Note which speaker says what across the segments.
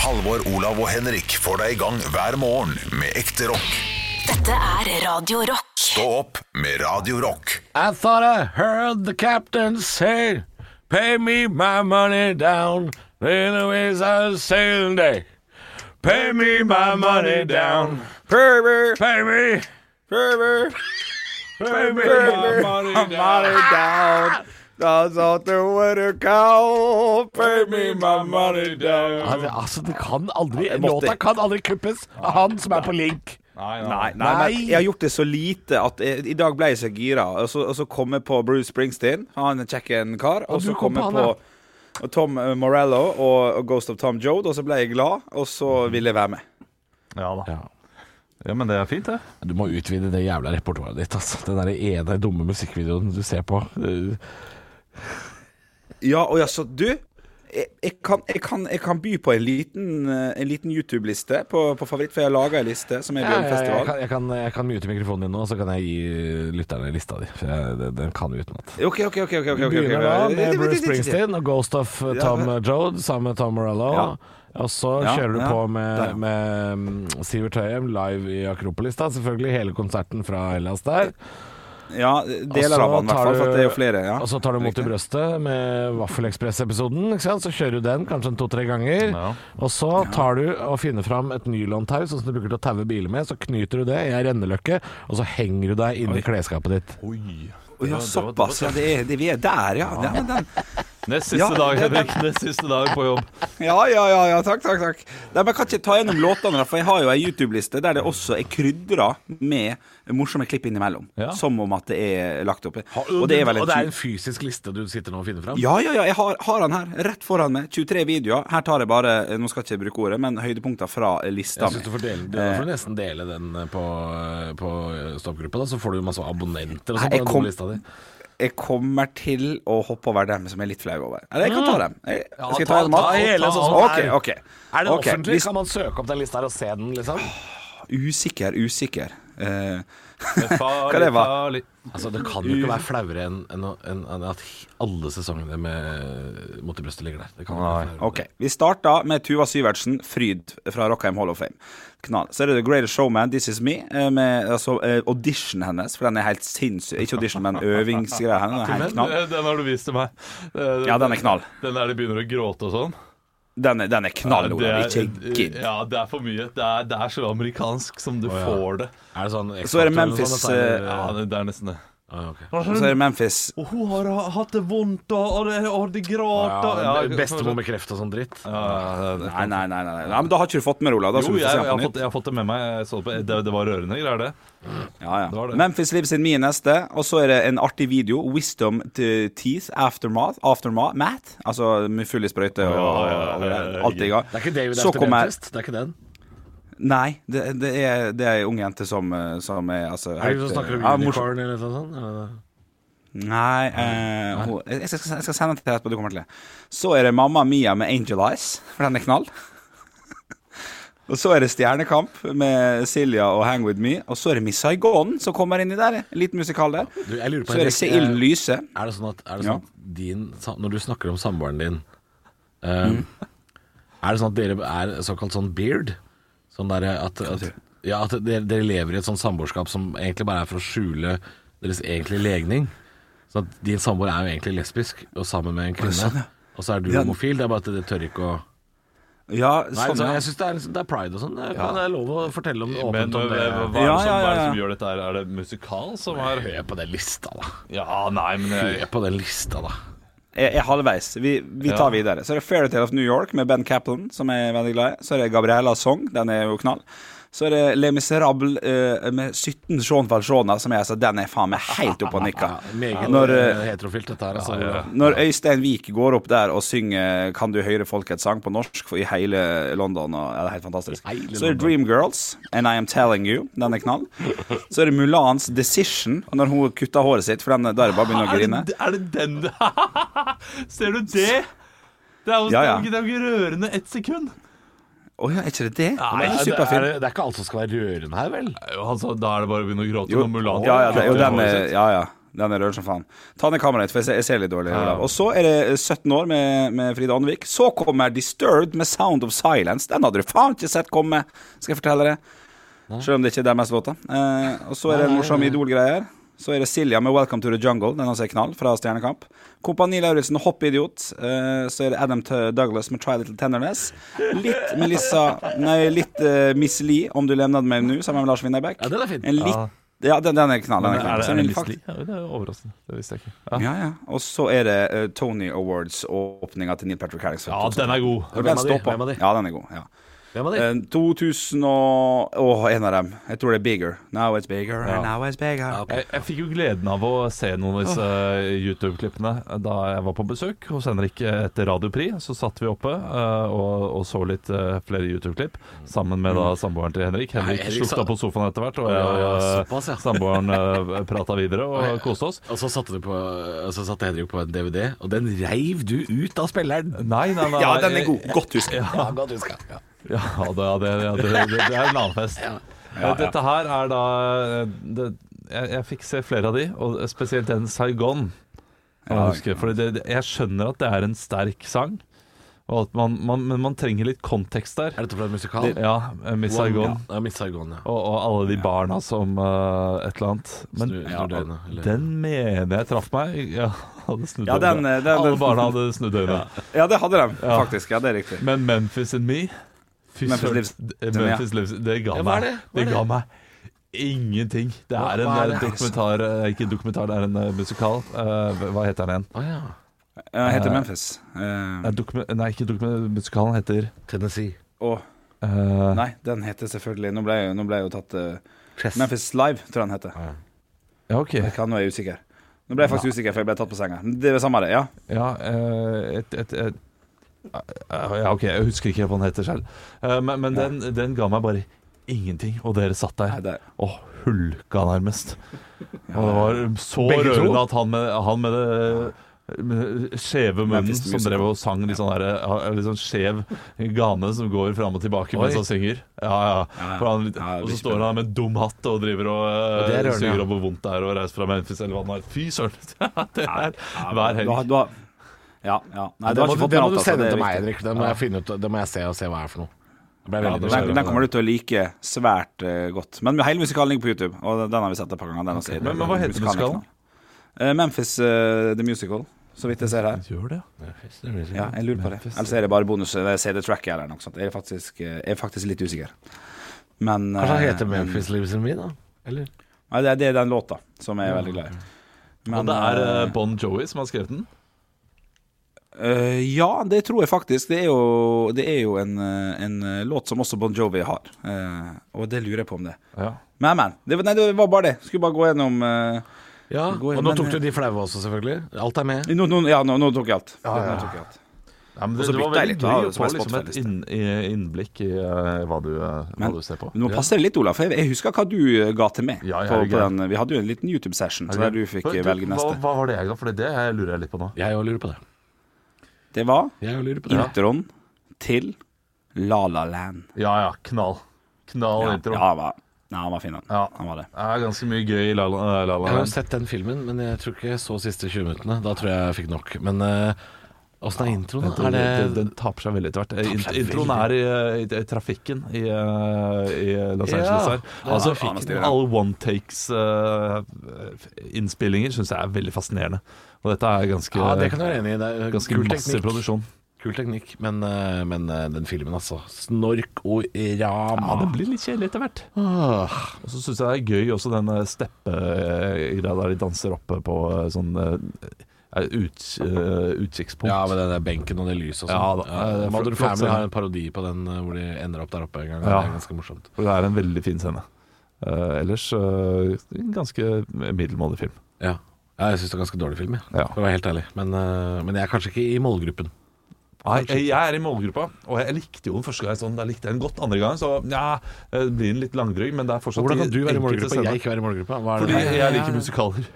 Speaker 1: Halvor, Olav og Henrik får deg i gang hver morgen med ekte rock.
Speaker 2: Dette er Radio Rock.
Speaker 1: Stå opp med Radio Rock.
Speaker 3: I thought I heard the captain say, Pay me my money down. Anyways, I was sailing day. Pay me my money down.
Speaker 4: Perver,
Speaker 3: Pay me.
Speaker 4: perver,
Speaker 3: Pay me my
Speaker 4: Perver.
Speaker 3: money
Speaker 4: I'm on
Speaker 3: down.
Speaker 4: it down. That's all the water cow.
Speaker 3: Pay me my money down.
Speaker 5: Altså, altså det kan aldri,
Speaker 4: det måtte-
Speaker 5: Låta kan aldri kuppes av han som er på link.
Speaker 4: Nei, nei, men jeg har gjort det så lite at jeg, i dag ble jeg så gira. Og så, og så kom jeg på Bruce Springsteen, han er kjekken kar. Og
Speaker 5: du
Speaker 4: så
Speaker 5: kom
Speaker 4: kom
Speaker 5: på
Speaker 4: jeg
Speaker 5: han, ja.
Speaker 4: på Tom eh, Morello og, og Ghost of Tom Jode, og så ble jeg glad, og så ville jeg være med.
Speaker 6: Ja da.
Speaker 5: Ja.
Speaker 6: Ja, men det er fint, det.
Speaker 5: Du må utvide det jævla repertoaret ditt. Altså. Den der ene dumme musikkvideoen du ser på. Eh,
Speaker 4: Ja, og ja, så du jeg, jeg, kan, jeg, kan, jeg kan by på en liten, eh, en liten YouTube-liste på, på favoritt, for jeg har laga ei liste som er
Speaker 5: Jeg, jeg, jeg,
Speaker 4: Bjørnfestival.
Speaker 5: kan, jeg, kan, jeg kan mute mikrofonen din nå, så kan jeg gi lytterne lista di. For jeg, den, den kan vi utenat.
Speaker 4: OK, OK, OK. ok, ok, ok,
Speaker 5: Begynner da med Bruce
Speaker 4: ok
Speaker 5: Springsteen og Ghost of eh, Tom
Speaker 4: Ja.
Speaker 5: Joad sammen med Tom Morello.
Speaker 4: Ja.
Speaker 5: Og så
Speaker 4: Ja,
Speaker 5: kjører du
Speaker 4: ja.
Speaker 5: på
Speaker 4: Der.
Speaker 5: med, med mm, Sivert Høyem live i Akropolis, da. Selvfølgelig hele konserten fra Hellas der.
Speaker 4: Ja,
Speaker 5: Og så
Speaker 4: deler av den, i hvert
Speaker 5: tar
Speaker 4: fall. For at det er jo
Speaker 5: du-
Speaker 4: flere. ja
Speaker 5: Og så tar du mot i
Speaker 4: Riktig.
Speaker 5: brøstet med Vaffelekspress-episoden. ikke sant? Så kjører du den kanskje en to-tre ganger.
Speaker 6: Ja.
Speaker 5: Og så tar du og finner fram et nylontau sånn som du bruker til å taue biler med. Så knyter du det i ei renneløkke, og så henger du deg inni klesskapet ditt.
Speaker 6: Oi.
Speaker 4: Å, Ja, såpass. Ja, det er, det, vi er der, ja. Ja, men den,
Speaker 6: Nest siste
Speaker 4: Ja.
Speaker 6: dag, Henrik. Nest siste dag på jobb.
Speaker 4: ja, ja, ja, ja. Takk, takk. takk Nei, men Kan ikke jeg ta gjennom låtene, da, for jeg har jo ei YouTube-liste der det også er krydra med morsomme klipp innimellom.
Speaker 6: Ja.
Speaker 4: Som om at det er lagt opp. Og det er vel en
Speaker 5: det er
Speaker 4: 20
Speaker 5: en fysisk liste du sitter nå og finner fram?
Speaker 4: Ja, ja, ja, jeg har, har han her, rett foran meg. 23 videoer. Her tar jeg bare, nå skal jeg ikke bruke ordet, men høydepunkter fra lista
Speaker 5: Jeg synes Altså, du
Speaker 4: mi.
Speaker 5: får, dele, du får nesten dele den eh, på, på eh, stoppgruppa, da, så får du masse abonnenter og
Speaker 4: Nei,
Speaker 5: sånn
Speaker 4: jeg
Speaker 5: på
Speaker 4: kom-
Speaker 5: den lista di.
Speaker 4: Jeg kommer til å hoppe over dem som jeg er litt flau over. Eller jeg kan ta dem. Jeg,
Speaker 5: Mm. Ja,
Speaker 4: skal jeg
Speaker 5: ta-
Speaker 4: ta dem alt?
Speaker 5: ta hele, sånn som
Speaker 4: Ok,
Speaker 5: det er.
Speaker 4: ok.
Speaker 5: Er den
Speaker 4: Ok,
Speaker 5: offentlig?
Speaker 4: hvis-
Speaker 5: Kan man søke opp den lista her og se den, liksom?
Speaker 4: Usikker, usikker. Eh,
Speaker 6: Det er
Speaker 4: Hva
Speaker 6: farlig,
Speaker 4: det var?
Speaker 6: farlig.
Speaker 5: Altså, det kan jo ikke være flauere enn enn å- enn- enn at alle sesongene med eh, Mot i brøstet ligger der. Det kan ikke være
Speaker 6: Nei.
Speaker 5: flauere.
Speaker 4: ok, Vi starta med Tuva Syvertsen, Fryd fra Rockheim Hall of Fame. Knall. Så er det The Greatest Showman, This Is Me, eh, med altså, eh, auditionen hennes. For den er helt sinnssyk. Ikke audition, men øvingsgreia hennes. Den er helt knall.
Speaker 6: Den, den har du vist til meg.
Speaker 4: Ja, den er knall.
Speaker 6: Den der de begynner å gråte og sånn.
Speaker 4: Den er, den er knall,
Speaker 6: Det
Speaker 4: Olav.
Speaker 6: er-
Speaker 4: Ikke gidd.
Speaker 6: Ja, det er for mye. Det er, det er så amerikansk som du
Speaker 5: ja.
Speaker 6: får det.
Speaker 5: Er det sånn
Speaker 4: Så er det
Speaker 5: X-Factor eller noe sånt,
Speaker 4: Memphis, eh,
Speaker 5: dette er-
Speaker 6: Ja, det, det er nesten det.
Speaker 5: Ah, ok.
Speaker 4: Og så er det Memphis
Speaker 6: Og hun har ha- hatt det vondt, og, og, det, og det gråter
Speaker 5: ja, Bestemor med kreft og sånn dritt.
Speaker 6: Ja, det-
Speaker 4: Nei, nei, nei, nei, nei. nei men da har ikke du fått med Ola. Da skal
Speaker 6: Jo,
Speaker 4: du
Speaker 6: jeg,
Speaker 4: få se han
Speaker 6: jeg,
Speaker 4: på
Speaker 6: har
Speaker 4: nytt.
Speaker 6: fått, jeg har fått det med meg. Jeg så det, på, det, det var rørende greier, det.
Speaker 4: Ja, ja.
Speaker 6: Det var det.
Speaker 4: Memphis Liv sin min neste, og så er det en artig video. Wisdom to Teeth Aftermath. Aftermath math. Altså med full i sprøyte og,
Speaker 6: Ja, ja,
Speaker 4: og,
Speaker 6: ja, ja, ja.
Speaker 4: alt i gang.
Speaker 5: Det er ikke David
Speaker 4: Så
Speaker 5: After
Speaker 4: kommer-
Speaker 5: Dentist, det er ikke den.
Speaker 4: Nei, det, det, er, det er ei ung jente som, eh, som er altså
Speaker 5: Er det ikke som snakker om
Speaker 4: ja, morsom-
Speaker 5: unicorn eller noe sånt? Er det det?
Speaker 4: Nei, eh, hun, jeg, skal, jeg skal sende den til deg etterpå. Du kommer til det. Så er det Mamma Mia med Angel Eyes, for den er knall. og så er det Stjernekamp med Silja og Hang With Me. Og så er det Miss Saigon som kommer inn i der. En liten musikal der.
Speaker 5: Du, jeg lurer på,
Speaker 4: Så er det
Speaker 5: Henrik,
Speaker 4: Se ilden
Speaker 5: eh,
Speaker 4: lyse.
Speaker 5: Er det sånn at, er det
Speaker 4: Ja.
Speaker 5: sånn at din, sa- Når du snakker om samboeren din eh,
Speaker 4: Mm.
Speaker 5: Er det sånn at dere er såkalt sånn beard? Sånn der at, at, ja, at dere, dere lever i et sånt samboerskap som egentlig bare er for å skjule deres egentlige legning? Sånn at din samboer er jo egentlig lesbisk og sammen med en kvinne.
Speaker 4: sånn, ja.
Speaker 5: Og så er du
Speaker 4: Ja.
Speaker 5: homofil. Det er bare at det tør ikke å
Speaker 4: Ja,
Speaker 5: Nei, så
Speaker 4: sånn, ja.
Speaker 5: Jeg syns det, er liksom- det er pride og sånn. Det, er- det er lov å fortelle om
Speaker 6: Men
Speaker 5: åpent
Speaker 6: hva
Speaker 5: om
Speaker 6: hva
Speaker 5: det.
Speaker 6: er det som,
Speaker 4: Ja, ja,
Speaker 6: hva er
Speaker 4: ja,
Speaker 6: det som
Speaker 4: ja.
Speaker 6: gjør dette her? Er det musikal som
Speaker 5: Hør-
Speaker 6: er
Speaker 5: Hør på den lista, da.
Speaker 6: Ja, nei, men jeg,
Speaker 5: Hør på den lista, da.
Speaker 4: Jeg er halvveis. Vi, vi tar
Speaker 6: Ja.
Speaker 4: videre. Så er det Fairytale of New York med Ben Caplan, som jeg er veldig glad i. Så er det Gabriella Song, den er jo knall. Så er det Le Miserable eh, med 17 Jean Valjeana, som er altså Den er faen meg helt oppe og nikker.
Speaker 5: Meget
Speaker 4: Når, eh,
Speaker 5: eh, heterofilt, dette her. Altså,
Speaker 4: Når Øystein Wiik går opp der og synger 'Kan du høre folkets sang' på norsk for i hele London, og, ja, det er helt fantastisk.
Speaker 5: I hele
Speaker 4: Så er det Dreamgirls, 'And I Am Telling You', den er knall. Så er det Mulans 'Decision', når hun kutter håret sitt, for den, da er det bare å begynne å
Speaker 6: er,
Speaker 4: grine.
Speaker 6: det, er det den du Ser du det? Det er jo
Speaker 4: Ja, ja.
Speaker 6: det er jo ikke- det er jo ikke rørende ett sekund.
Speaker 4: Å ja, er ikke det det?
Speaker 5: Nei,
Speaker 4: Den er
Speaker 5: det, er,
Speaker 4: superfin.
Speaker 5: det er ikke alt som skal være rørende her, vel?
Speaker 6: altså, Jo, Han sa da er det bare å begynne å gråte.
Speaker 4: Jo,
Speaker 6: når Mulan
Speaker 4: ja, ja, det, jo, den eh, er, ja, ja. Den er rød som faen. Ta ned kameraet ditt, for jeg ser, jeg ser litt dårlig. Olav. Og så er det 17 år med, med Frida Andvik. Så kommer Disturbed med Sound of Silence. Den hadde du faen ikke sett komme, skal jeg fortelle deg. Selv om det ikke er deres låta. Eh, og så er det en morsom Idol-greier. Så er det Silja med 'Welcome to the Jungle', den også er knall, fra Stjernekamp. Kompani Lauritzen, 'Hoppidiot'. Eh, så er det Adam T. Douglas med 'Try Little Tenderness'. Litt Melissa Nei, litt eh, Miss Lee, 'Om du levnet meg nå', sammen med Lars Winnerbäck.
Speaker 5: Ja, den er fin.
Speaker 4: En litt, ja, den, den er knall. Den er knall.
Speaker 6: Er det,
Speaker 4: Så
Speaker 6: er
Speaker 4: en
Speaker 6: det
Speaker 4: fakt-
Speaker 6: mislig? Ja, det er overraskende. Det visste jeg ikke. Ja,
Speaker 4: ja, ja. Og så er det eh, Tony Awards og åpninga til Neil Patrick Harris.
Speaker 6: ja den er god.
Speaker 4: Og
Speaker 5: Hvem
Speaker 4: den
Speaker 5: av de?
Speaker 4: står på.
Speaker 5: Hvem av de?
Speaker 4: Ja, den er god. Ja.
Speaker 5: Hvem av de?
Speaker 4: Eh, 2000 og Å, en av dem. Jeg tror det er Bigger. Now it's bigger, and now it's bigger.
Speaker 6: Jeg, jeg fikk jo gleden av å se noen av disse YouTube-klippene da jeg var på besøk hos Henrik etter Radiopri. Så satt vi oppe eh, og, og så litt eh, flere YouTube-klipp sammen med da samboeren til Henrik. Henrik
Speaker 5: Mm. Nei, Henrik
Speaker 6: slukta
Speaker 5: sa-
Speaker 6: på sofaen etter hvert, og jeg
Speaker 5: Ja, ja,
Speaker 6: og eh,
Speaker 5: såpass, ja.
Speaker 6: samboeren uh, prata videre og koste oss.
Speaker 5: Og så satte, du på, og så satte Henrik på en DVD, og den reiv du ut av spilleren.
Speaker 6: Nei, nei, eh, nei.
Speaker 4: Ja, den
Speaker 6: jeg-
Speaker 4: er god. Godt huska.
Speaker 5: Ja, godt huska. Ja.
Speaker 6: Ja, det, ja, det, ja, det, det, det er en annen fest. Eh, Dette her er da eh, det, jeg, jeg fikk se flere av de, og spesielt den Saigon. kan
Speaker 4: Ja,
Speaker 6: Jeg, huske, fordi det, det, jeg skjønner at det er en sterk sang, og at man, man, men man trenger litt kontekst der.
Speaker 5: Er dette fra en musikal?
Speaker 6: Ja, eh, Miss Saigon.
Speaker 5: Ja, Miss Saigon, ja.
Speaker 6: Og, og alle de barna som eh, et eller annet. Men
Speaker 5: Snur-
Speaker 6: ja,
Speaker 5: snur døgnet, eller-
Speaker 6: den mener jeg traff meg. Ja, hadde snudd
Speaker 4: Ja, den,
Speaker 6: øynene.
Speaker 4: eh, den-
Speaker 6: Alle
Speaker 4: den-
Speaker 6: barna hadde snudd øynene.
Speaker 4: Ja, det hadde de faktisk. Ja, det er riktig.
Speaker 6: Men Memphis and Me Fy
Speaker 4: Memphis
Speaker 6: søren.
Speaker 4: Lives-
Speaker 6: D- Memphis Lives Det ga
Speaker 5: Ja, hva er
Speaker 6: meg
Speaker 5: det? Hva er
Speaker 6: Det
Speaker 5: det?
Speaker 6: ga meg ingenting. Det er en
Speaker 5: hva er
Speaker 6: eh,
Speaker 5: det?
Speaker 6: dokumentar eh, Ikke en dokumentar, det er en eh, musikal. Eh, hva heter den igjen?
Speaker 5: Å ja.
Speaker 4: Eh, heter Memphis. Eh,
Speaker 6: Nei, dokumen- nei, ikke dokumentar. Musikalen heter
Speaker 5: Tennessee.
Speaker 4: og
Speaker 6: eh,
Speaker 4: Nei, den heter selvfølgelig Nå ble jeg, nå ble jeg jo tatt eh,
Speaker 5: Chess.
Speaker 4: Memphis Live, tror jeg den heter.
Speaker 6: Ja, OK.
Speaker 4: Jeg kan, nå er jeg usikker. Nå ble jeg faktisk usikker, for jeg ble tatt på senga. Men Det er det samme, det. Ja.
Speaker 6: Ja, eh, et, et, et, eh, ja, OK, jeg husker ikke hva den heter selv. Eh, men men den, den ga meg bare ingenting. Og dere satt
Speaker 4: Nei,
Speaker 6: der
Speaker 4: det-
Speaker 6: og hulka nærmest. Og det var så
Speaker 5: Begge to?
Speaker 6: rørende at han med, han med det med skjeve munnen
Speaker 4: Memphis
Speaker 6: som
Speaker 4: Musical.
Speaker 6: drev og sang litt sånn, der, eh, litt sånn skjev gane som går fram og tilbake mens han synger. Ja, ja. For han,
Speaker 4: Ja, det
Speaker 6: og
Speaker 4: blir
Speaker 6: så står han der med en dum hatt og driver og
Speaker 5: Ja, det er
Speaker 6: eh,
Speaker 5: rørende, ja.
Speaker 6: synger om hvor vondt det er å reise fra Memphis eller hva det nå er. Fy søren! det er hver
Speaker 4: Du har,
Speaker 6: helg.
Speaker 4: du har, ja, ja. Nei, du
Speaker 5: Det
Speaker 4: har
Speaker 5: må,
Speaker 4: ikke
Speaker 5: du,
Speaker 4: fått
Speaker 5: det
Speaker 4: den
Speaker 5: må
Speaker 4: alt,
Speaker 5: du
Speaker 4: altså,
Speaker 5: sende
Speaker 4: det er
Speaker 5: til meg,
Speaker 4: viktig.
Speaker 5: Henrik. Det må jeg finne ut Det må jeg se og se hva er for noe. Det ble
Speaker 6: Ja,
Speaker 5: veldig
Speaker 6: det
Speaker 5: nysgjerrig.
Speaker 4: Den, den kommer du til å like svært eh, godt. Men hele musikalen ligger på YouTube, og den har vi sett et par ganger. Den også.
Speaker 6: Men- men hva heter
Speaker 4: er
Speaker 6: musikalen?
Speaker 4: knall. Eh, Memphis eh, The Musical, så vidt jeg ser her.
Speaker 6: Gjør det, ja.
Speaker 4: Ja, jeg lurer på det. Ellers er det bare bonus eh, CD-tracket eller noe sånt. Jeg er faktisk, eh, jeg er faktisk litt usikker. Men eh,
Speaker 5: Kanskje han heter Memphis Lives in Me, da? Eller?
Speaker 4: Nei, det, er- det er den låta som jeg er veldig glad i.
Speaker 6: Og
Speaker 4: Men,
Speaker 6: det er
Speaker 4: eh,
Speaker 6: eh, Bon Jovi som har skrevet den.
Speaker 4: Eh, ja, det tror jeg faktisk. Det er jo, det er jo en, eh, en eh, låt som også Bon Jovi har, eh, og det lurer jeg på om det.
Speaker 6: Ja.
Speaker 4: Men, men. Det, var- nei, det var bare det. Skulle bare gå gjennom eh,
Speaker 5: Ja,
Speaker 4: Det går-
Speaker 5: og nå
Speaker 4: men- eh,
Speaker 5: tok du de flaue også, selvfølgelig. Alt er med.
Speaker 4: nå, nå, Ja, nå, nå tok jeg alt. Nå tok jeg alt.
Speaker 6: men
Speaker 4: Og
Speaker 6: det,
Speaker 4: så
Speaker 6: det
Speaker 4: bytter
Speaker 6: var
Speaker 4: jeg
Speaker 6: veldig
Speaker 4: litt,
Speaker 6: gøy
Speaker 4: da,
Speaker 6: å
Speaker 4: som
Speaker 6: få
Speaker 4: er
Speaker 6: liksom et inn, i- innblikk i eh, hva, du, eh, hva
Speaker 4: Men-
Speaker 6: du ser på.
Speaker 4: Du må passe deg litt, Olaf. for Jeg, jeg husker hva du eh, ga til meg.
Speaker 6: Ja, ja,
Speaker 4: på, på
Speaker 6: det er greit.
Speaker 4: den, vi hadde jo en liten YouTube-session så der du fikk
Speaker 6: Hva-
Speaker 4: eh, velge
Speaker 6: Hva,
Speaker 4: neste.
Speaker 6: hva var det jeg ga? For det, det lurer jeg litt på nå.
Speaker 5: Jeg òg lurer på det.
Speaker 4: Det var
Speaker 5: Jeg også lurer på det.
Speaker 4: introen til La La Land.
Speaker 6: Ja ja, knall. Knall
Speaker 4: Ja,
Speaker 6: intro.
Speaker 4: ja, han var, ja, han var fin, han.
Speaker 6: Ja.
Speaker 4: han var det.
Speaker 6: Det er ganske mye gøy i eh, La La La
Speaker 5: Jeg
Speaker 6: La
Speaker 5: har jo
Speaker 6: Land.
Speaker 5: sett den filmen, men jeg tror ikke jeg så siste 20 minuttene. Da tror jeg jeg fikk nok. Men eh, åssen er introen? da? Er det
Speaker 6: Den- Den taper seg veldig etter hvert. Eh,
Speaker 5: Taper seg
Speaker 6: Int- Introen er i, eh, i, i trafikken i, eh, i Los
Speaker 5: Ja,
Speaker 6: Angeles her.
Speaker 5: det er
Speaker 6: Altså,
Speaker 5: trafikken,
Speaker 4: ja.
Speaker 6: alle one takes-innspillinger syns jeg er veldig fascinerende. Og dette er ganske,
Speaker 5: Ja, det kan du være enig i. Det er
Speaker 6: ganske
Speaker 5: kul
Speaker 6: massiv
Speaker 5: teknikk.
Speaker 6: produksjon.
Speaker 5: Kul teknikk, men, eh, men eh, den filmen, altså. Snork og Ah,
Speaker 6: Ja,
Speaker 5: rama.
Speaker 6: det blir litt kjedelig etter hvert.
Speaker 5: Åh.
Speaker 6: Og så syns jeg det er gøy også den eh, steppegreia der de danser oppe på eh, sånn eh, ut, eh, utkikkspunkt.
Speaker 5: Ja, med den der benken og det lyset og sånn.
Speaker 6: Ja, da. Det
Speaker 5: Modern
Speaker 6: er flott, flott
Speaker 5: Family
Speaker 6: scene.
Speaker 5: har en parodi på den eh, hvor de ender opp der oppe en gang. Det
Speaker 6: Ja.
Speaker 5: er ganske morsomt.
Speaker 6: For det er en veldig fin scene. Eh, ellers eh, en ganske middelmådig film.
Speaker 5: Ja. Ja, jeg syns det er ganske dårlig film, jeg.
Speaker 6: Ja.
Speaker 5: For å være helt ærlig. Men, eh, men jeg er kanskje ikke i målgruppen.
Speaker 6: Nei, jeg, jeg er i målgruppa, og jeg likte jo den første gang sånn, jeg likte den godt. Andre gang så ja, eh, blir den litt langdrøy, men det er fortsatt
Speaker 5: Hvordan kan du
Speaker 6: de
Speaker 5: være i
Speaker 6: enkelte
Speaker 5: målgruppa og
Speaker 6: scener.
Speaker 5: jeg ikke være i målgruppa? Hva er
Speaker 6: Fordi
Speaker 5: det?
Speaker 6: jeg liker musikaler.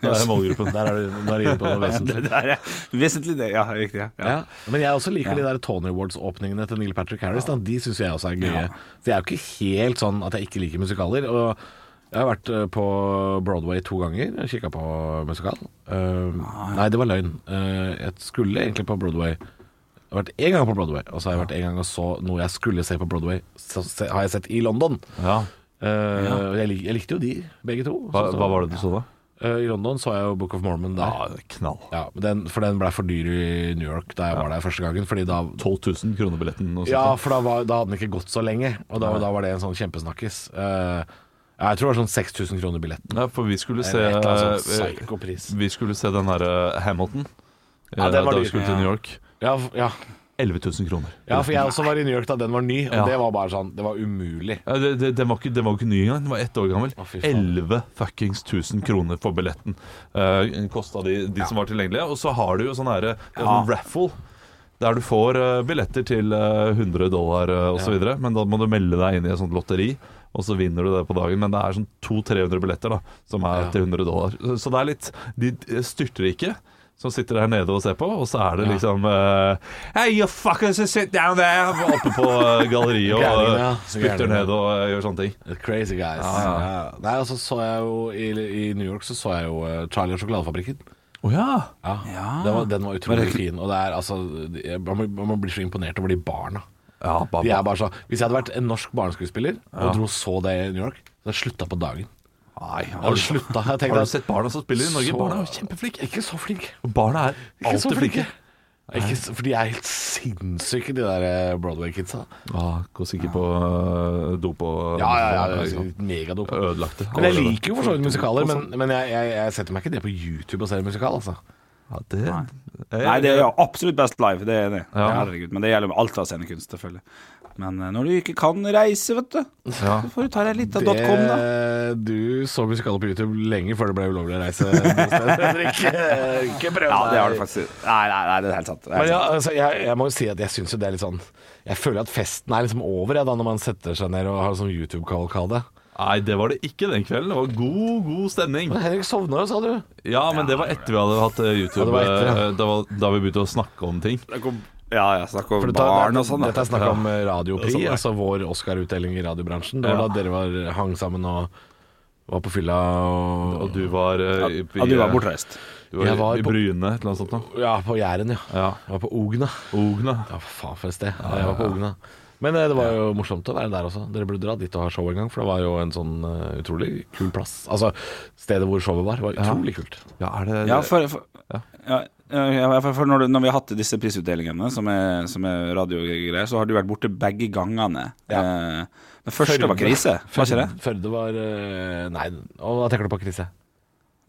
Speaker 6: Det er målgruppen.
Speaker 5: Der er du nå er du inne på noe vesentlig.
Speaker 4: Det er vesentlig det. Ja, riktig. Ja.
Speaker 5: Ja. Men jeg også liker de der Tony Awards-åpningene til Neil Patrick Harris. Da. De syns jeg også er gøye. Så jeg er jo ikke helt sånn at jeg ikke liker musikaler. Og Jeg har vært eh, på Broadway to ganger og kikka på musikal. Eh,
Speaker 6: Ah,
Speaker 5: nei, det var løgn. Eh, jeg skulle egentlig på Broadway. Jeg har vært én gang på Broadway, og så har jeg vært en gang og så noe jeg skulle se på Broadway, så se, har jeg sett i London.
Speaker 6: Ja.
Speaker 5: Eh, jeg, lik, jeg likte jo de, begge to. Eh,
Speaker 6: Hva, hva var det Ah. du så, da?
Speaker 5: I London så jeg jo Book of Mormon der.
Speaker 6: Ja, knall.
Speaker 5: Ja, men den, for den blei for dyr i New York da jeg var der første gangen. Fordi da
Speaker 6: 12 000 kroner billetten. og sånt.
Speaker 5: Ja, for da, var, da hadde den ikke gått så lenge, og da, da var det en sånn kjempesnakkis. Eh, jeg tror det var sånn 6000 kroner billetten.
Speaker 6: Ja, for vi skulle se
Speaker 5: Eller et eller annet sånt
Speaker 6: eh,
Speaker 5: psykopris.
Speaker 6: Vi skulle se den derre Hamilton.
Speaker 5: Ja, den
Speaker 6: eh,
Speaker 5: var
Speaker 6: da
Speaker 5: dyr.
Speaker 6: vi skulle til New York.
Speaker 5: Ja, f- ja.
Speaker 6: 11 000 kroner.
Speaker 5: ja, for jeg også var i New York da den var ny, og
Speaker 6: Ja.
Speaker 5: det var bare sånn Det var umulig.
Speaker 6: Ja, det, det, den, var ikke, den var ikke ny engang. Den var ett år gammel.
Speaker 5: Å, fy faen.
Speaker 6: 11 fuckings 1000 kroner for billetten uh, kosta de, de som var tilgjengelige. Og så har du jo sånn herre
Speaker 4: Ja.
Speaker 6: raffle. Der du får eh, billetter til eh, 100 dollar uh, osv., videre men da må du melde deg inn i et sånt lotteri. Og så vinner du det på dagen, men det er sånn 200-300 billetter da som er til 100 dollar. Så- Så det er litt De styrter ikke, som sitter her nede og ser på, og så er det liksom eh, Hey, you fuckers, sit down there! Oppe på eh, galleriet og
Speaker 5: Gærningene,
Speaker 6: eh,
Speaker 5: ja.
Speaker 6: spytter
Speaker 5: Gærningene.
Speaker 6: ned og eh, gjør sånne ting.
Speaker 5: Crazy guys. Ja. Nei, og så så jeg jo i, I New York så så jeg jo eh, Charlie og sjokoladefabrikken.
Speaker 6: Å ja!
Speaker 5: Ja. Den, var, den var utrolig fin. Og det er altså jeg- Man blir- man blir så imponert over de barna.
Speaker 6: Ja,
Speaker 5: De er bare så, hvis jeg hadde vært en norsk barneskuespiller og dro og så det i New York, så hadde jeg slutta på dagen.
Speaker 6: Nei,
Speaker 5: Jeg
Speaker 6: har,
Speaker 5: hadde
Speaker 6: du,
Speaker 5: slutta. Jeg tenkte
Speaker 6: har
Speaker 5: at-
Speaker 6: du sett barna som spiller i Norge?
Speaker 5: Så-
Speaker 6: Barna er jo kjempeflinke.
Speaker 5: Ikke så flinke.
Speaker 6: Barna er
Speaker 5: Ikke så
Speaker 6: alltid flinke.
Speaker 5: flinke. Ikke, s- for de er helt sinnssyke, de der eh, Broadway-kidsa.
Speaker 6: Ja, Gå sikkert på øh, do på
Speaker 5: Ja, ja, ja.
Speaker 6: ikke
Speaker 5: ja
Speaker 6: sant?
Speaker 5: Megadope.
Speaker 6: Ødelagte.
Speaker 5: Men jeg liker jo for så vidt musikaler, men, men jeg, jeg, jeg setter meg ikke det på YouTube og ser musikal, altså.
Speaker 6: ja, det,
Speaker 5: Eh,
Speaker 6: Eh,
Speaker 4: Nei, det er jo absolutt best live, det er det.
Speaker 6: Ja.
Speaker 4: Herregud, men det gjelder med alt av scenekunst, selvfølgelig. Men eh, når du ikke kan reise, vet du, så
Speaker 6: Ja.
Speaker 4: får du ta deg litt av .com, da.
Speaker 5: du så musikaler på YouTube lenge før det ble ulovlig å reise noe sted. Henrik. Ikke prøv
Speaker 4: Ja, det har
Speaker 5: deg.
Speaker 4: du faktisk. Nei, nei, nei, det er helt sant. Det er
Speaker 5: Men
Speaker 4: helt
Speaker 5: ja,
Speaker 4: sant.
Speaker 5: altså, jeg, jeg må jo si at jeg syns jo det er litt sånn Jeg føler at festen er liksom over jeg, da, når man setter seg ned og har sånn YouTube-kavalkade.
Speaker 6: Nei, det var det ikke den kvelden. Det var god, god stemning.
Speaker 5: Men Henrik sovna jo, sa du.
Speaker 6: Ja, men det var etter vi hadde hatt eh, YouTube.
Speaker 5: det var etter, ja.
Speaker 6: eh, det var da vi begynte å snakke om ting.
Speaker 4: Ja, ja, snakk om
Speaker 5: For dette,
Speaker 4: barn og sånn.
Speaker 5: Dette
Speaker 4: da.
Speaker 5: er snakk om eh, radiopri,
Speaker 6: sånn, ja.
Speaker 5: altså vår Oscar-utdeling i radiobransjen. Det var
Speaker 6: Ja.
Speaker 5: da dere var, eh, hang sammen og var på fylla og,
Speaker 6: Og du var eh, i-
Speaker 4: Ja, du var
Speaker 6: eh,
Speaker 4: bortreist.
Speaker 6: Du var,
Speaker 5: Jeg var
Speaker 6: i
Speaker 5: på-
Speaker 6: Bryne, et eller annet sånt noe.
Speaker 5: Ja, på Jæren, ja.
Speaker 6: Ja.
Speaker 5: Jeg var på Ogna.
Speaker 6: Ogna.
Speaker 5: Ja, faen for et sted. Jeg var på Ogna. Men eh, det var jo morsomt å være der også. Dere burde dra dit og ha show en gang, for det var jo en sånn eh, utrolig kul plass. Altså, stedet hvor showet var, var utrolig kult.
Speaker 6: Ja, er det
Speaker 4: Ja, for, for, ja. ja, for, for når, du, når vi har hatt disse prisutdelingene, som er, som er radiogreier, så har du vært borte begge gangene. Eh, men første var krise, var ikke det?
Speaker 5: Førde var eh, Nei, og hva tenker du på, Krise?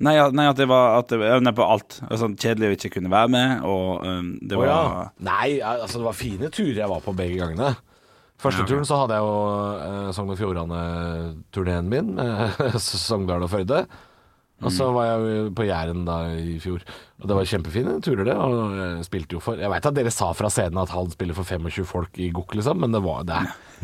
Speaker 4: Nei, ja, nei at det var at det, ja, nei, på alt. Altså, kjedelig å ikke kunne være med, og um, det
Speaker 5: Å
Speaker 4: var
Speaker 5: ja. Nei, altså det var fine turer jeg var på begge gangene. Første turen så hadde jeg jo eh, Sogn og Fjordane-turneen min, med Sogndal og Førde. Og
Speaker 4: Mm.
Speaker 5: så var jeg jo på Jæren da i fjor. Og det var kjempefine turer, det. Og jeg spilte jo for Jeg veit at dere sa fra scenen at han spiller for 25 folk i Gokk, liksom, men det var det.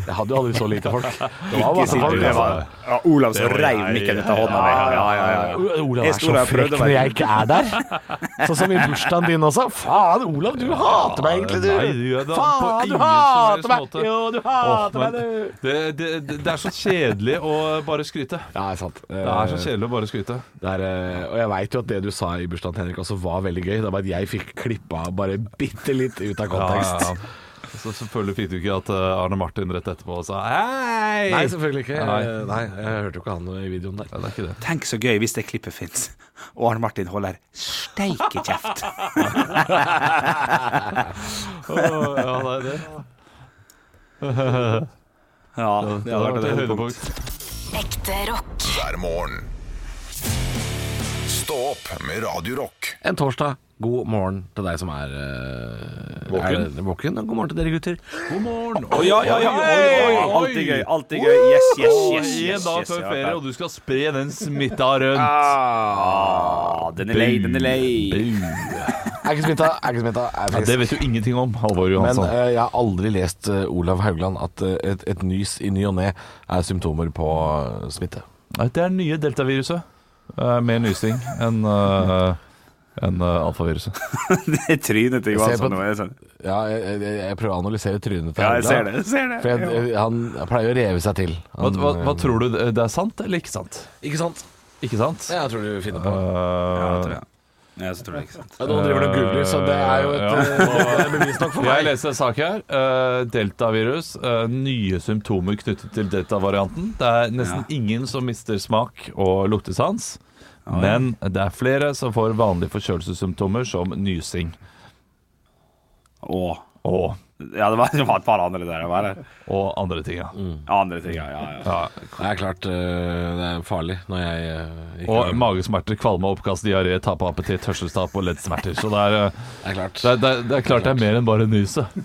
Speaker 5: Jeg hadde jo aldri så lite folk. Det var masse folk.
Speaker 4: det
Speaker 5: altså.
Speaker 4: var ja, Olav som reiv mikken ut av hånda mi. Ja, ja, ja, ja.
Speaker 5: Olav
Speaker 4: Jeg
Speaker 5: er
Speaker 4: sto
Speaker 5: så
Speaker 4: der og
Speaker 5: frekk
Speaker 4: prøvde å
Speaker 5: når
Speaker 4: være-
Speaker 5: jeg ikke er der. Sånn som i bursdagen din også. Faen, Olav, du hater meg egentlig, du.
Speaker 6: Nei, du gjør det på
Speaker 5: Faen,
Speaker 6: ingen
Speaker 5: du
Speaker 6: som helst
Speaker 5: hater meg.
Speaker 6: måte.
Speaker 5: Jo, du
Speaker 6: Åh,
Speaker 5: hater
Speaker 6: men
Speaker 5: meg, du.
Speaker 6: det, det, det, det er så kjedelig å bare skryte.
Speaker 5: Nei, sant. Eh,
Speaker 6: Det er så kjedelig å bare skryte.
Speaker 5: Det er, eh, og jeg veit jo at det du sa i bursdagen til Henrik også var veldig gøy. Det er bare at jeg fikk klippa bare bitte litt ut av kontekst.
Speaker 6: Ja, ja, ja. Så selvfølgelig fikk du ikke at eh, Arne Martin rett etterpå sa hei!
Speaker 5: Nei, selvfølgelig ikke.
Speaker 6: Nei.
Speaker 5: Eh, Nei, jeg hørte jo ikke han i videoen der.
Speaker 6: Nei, det er ikke det.
Speaker 4: Tenk så gøy hvis det klippet fins, og Arne Martin holder steike kjeft.
Speaker 6: Åh, ja, nei, det.
Speaker 4: Ja,
Speaker 6: det hadde vært et høydepunkt.
Speaker 2: Ekte rock.
Speaker 1: hver morgen. Stå opp med Radio Rock.
Speaker 5: En torsdag. God morgen til deg som er eh,
Speaker 6: Våken.
Speaker 5: er våken. Og god morgen til dere gutter.
Speaker 6: God morgen!
Speaker 4: Å, ja, ja, ja. Oi, oi, oi. Alltid gøy. Alltid gøy. Yes, yes, yes. yes,
Speaker 6: En
Speaker 4: yes,
Speaker 6: dag
Speaker 4: yes,
Speaker 6: før
Speaker 4: ja,
Speaker 6: ferie,
Speaker 4: ja.
Speaker 6: og du skal spre den smitta rundt.
Speaker 4: Ah, den er lei, den er lei.
Speaker 5: Er ikke smitta, er ikke smitta. Er frisk.
Speaker 6: Ja, det vet du ingenting om, Halvor
Speaker 5: Men
Speaker 6: Johansson.
Speaker 5: eh, jeg har aldri lest eh, Olav Haugland at eh, et, et nys i ny og ne er symptomer på eh, smitte.
Speaker 6: Nei, det er nye deltaviruset. Eh, mer nysing enn eh, enn eh, alfaviruset.
Speaker 4: Det er trynet til
Speaker 5: Jeg ser
Speaker 4: Johansson
Speaker 5: på-
Speaker 4: nå. Er det sånn.
Speaker 5: Ja, jeg, jeg, jeg prøver å analysere trynet til
Speaker 4: Ja, jeg
Speaker 5: Helga,
Speaker 4: ser det. Jeg ser det.
Speaker 5: For jeg, jeg, han pleier å reve seg til.
Speaker 6: Hva,
Speaker 5: Han,
Speaker 6: hva, hva
Speaker 5: eh,
Speaker 6: tror du? Det er sant eller ikke sant?
Speaker 5: Ikke sant?
Speaker 6: Ikke sant?
Speaker 5: Ja, jeg tror du finner på.
Speaker 4: Ja, jeg tror
Speaker 6: Eh,
Speaker 4: det. Ja, så tror jeg ikke sant.
Speaker 5: Ja, nå driver du og googler, så det er jo
Speaker 6: Ja.
Speaker 5: et eh, bevis nok for
Speaker 6: Jeg
Speaker 5: meg.
Speaker 6: leser en sak her. Eh, Deltavirus. eh, nye symptomer knyttet til deltavarianten. Det er nesten ingen som mister smak og luktesans. Men det er flere som får vanlige forkjølelsessymptomer som nysing.
Speaker 4: Åh.
Speaker 6: Og,
Speaker 4: Ja, det var, det var et par andre der. det Var det.
Speaker 6: og andre ting, ja.
Speaker 5: Mm,
Speaker 4: Andre ting, ja, ja, ja.
Speaker 6: ja.
Speaker 5: Det er klart eh, det er farlig når jeg eh, ikke
Speaker 6: Og magesmerter, kvalme, oppkast, diaré, tap av appetitt, hørselstap og leddsmerter. Så det er, eh,
Speaker 5: Det er klart.
Speaker 6: det, er, det, er, det er klart det er mer enn bare nyset.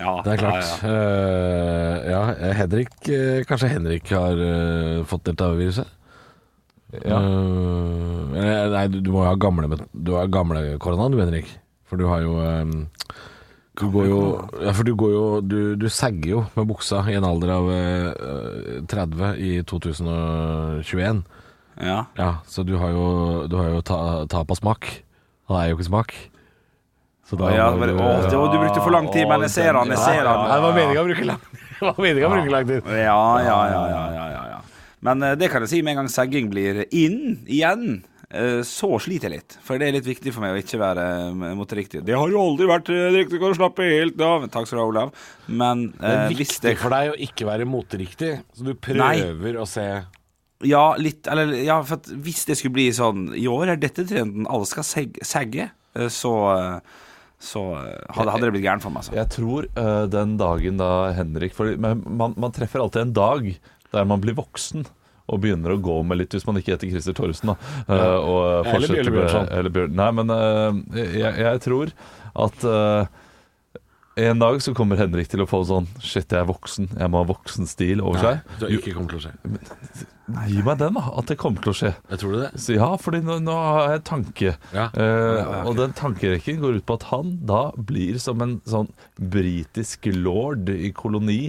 Speaker 4: ja.
Speaker 5: Det er klart.
Speaker 4: Ja, ja.
Speaker 5: Eh, ja, eh, Henrik eh, Kanskje Henrik har eh, fått deltaviruset?
Speaker 6: Ja.
Speaker 5: Eh, eller, nei, du, du må jo ha gamle, met- du har gamle korona, du, Henrik. For du har jo eh, Du går jo Ja, for du går jo Du, du sagger jo med buksa i en alder av eh, 30 i 2021.
Speaker 4: ja.
Speaker 5: Ja, så du har jo, du har jo ta, tap av smak. Han er jo ikke smak. Så da
Speaker 4: Å, ja,
Speaker 5: må
Speaker 4: men,
Speaker 5: du- eh,
Speaker 4: å, det- å, du brukte for lang tid, men jeg ser han, jeg ser han.
Speaker 5: Nei, det var meninga å bruke lang Det var meningen å bruke lang tid.
Speaker 4: Ja, ja, ja, ja, ja, ja, ja. Men eh, det kan jeg si med en gang segging blir inn igjen. eh, Så sliter jeg litt, for det er litt viktig for meg å ikke være eh, moteriktig. Det har jo aldri vært eh, riktig å slappe helt av. Takk skal du ha, Olav. Men
Speaker 5: Det
Speaker 4: eh,
Speaker 5: er
Speaker 4: hvis
Speaker 5: viktig
Speaker 4: det
Speaker 5: for deg å ikke være moteriktig, så du prøver å se
Speaker 4: Ja, litt Eller ja, for at hvis det skulle bli sånn I år er dette trenden, alle skal seg- sagge, eh, så eh, Så eh, hadde, hadde det blitt gærent for meg, altså.
Speaker 6: Jeg tror eh, den dagen da Henrik For men man, man treffer alltid en dag der man blir voksen og begynner å gå med litt, hvis man ikke heter Christer Thoresen, da. eh, og
Speaker 5: Eller
Speaker 6: fortsetter
Speaker 5: Bjørle
Speaker 6: med-
Speaker 5: Bjørnson.
Speaker 6: Eller Bjørn. Nei, men eh, jeg, jeg tror at eh, en dag så kommer Henrik til å få sånn Shit, jeg er voksen. Jeg må ha voksen stil over seg.
Speaker 5: Det ikke kommer til å skje.
Speaker 6: Gi meg den, da. At det kommer til å skje.
Speaker 5: Jeg tror du det?
Speaker 6: Så ja, fordi nå, nå har jeg en tanke.
Speaker 5: Ja.
Speaker 6: Eh, Og den tankerekken går ut på at han da blir som en sånn britisk lord i koloni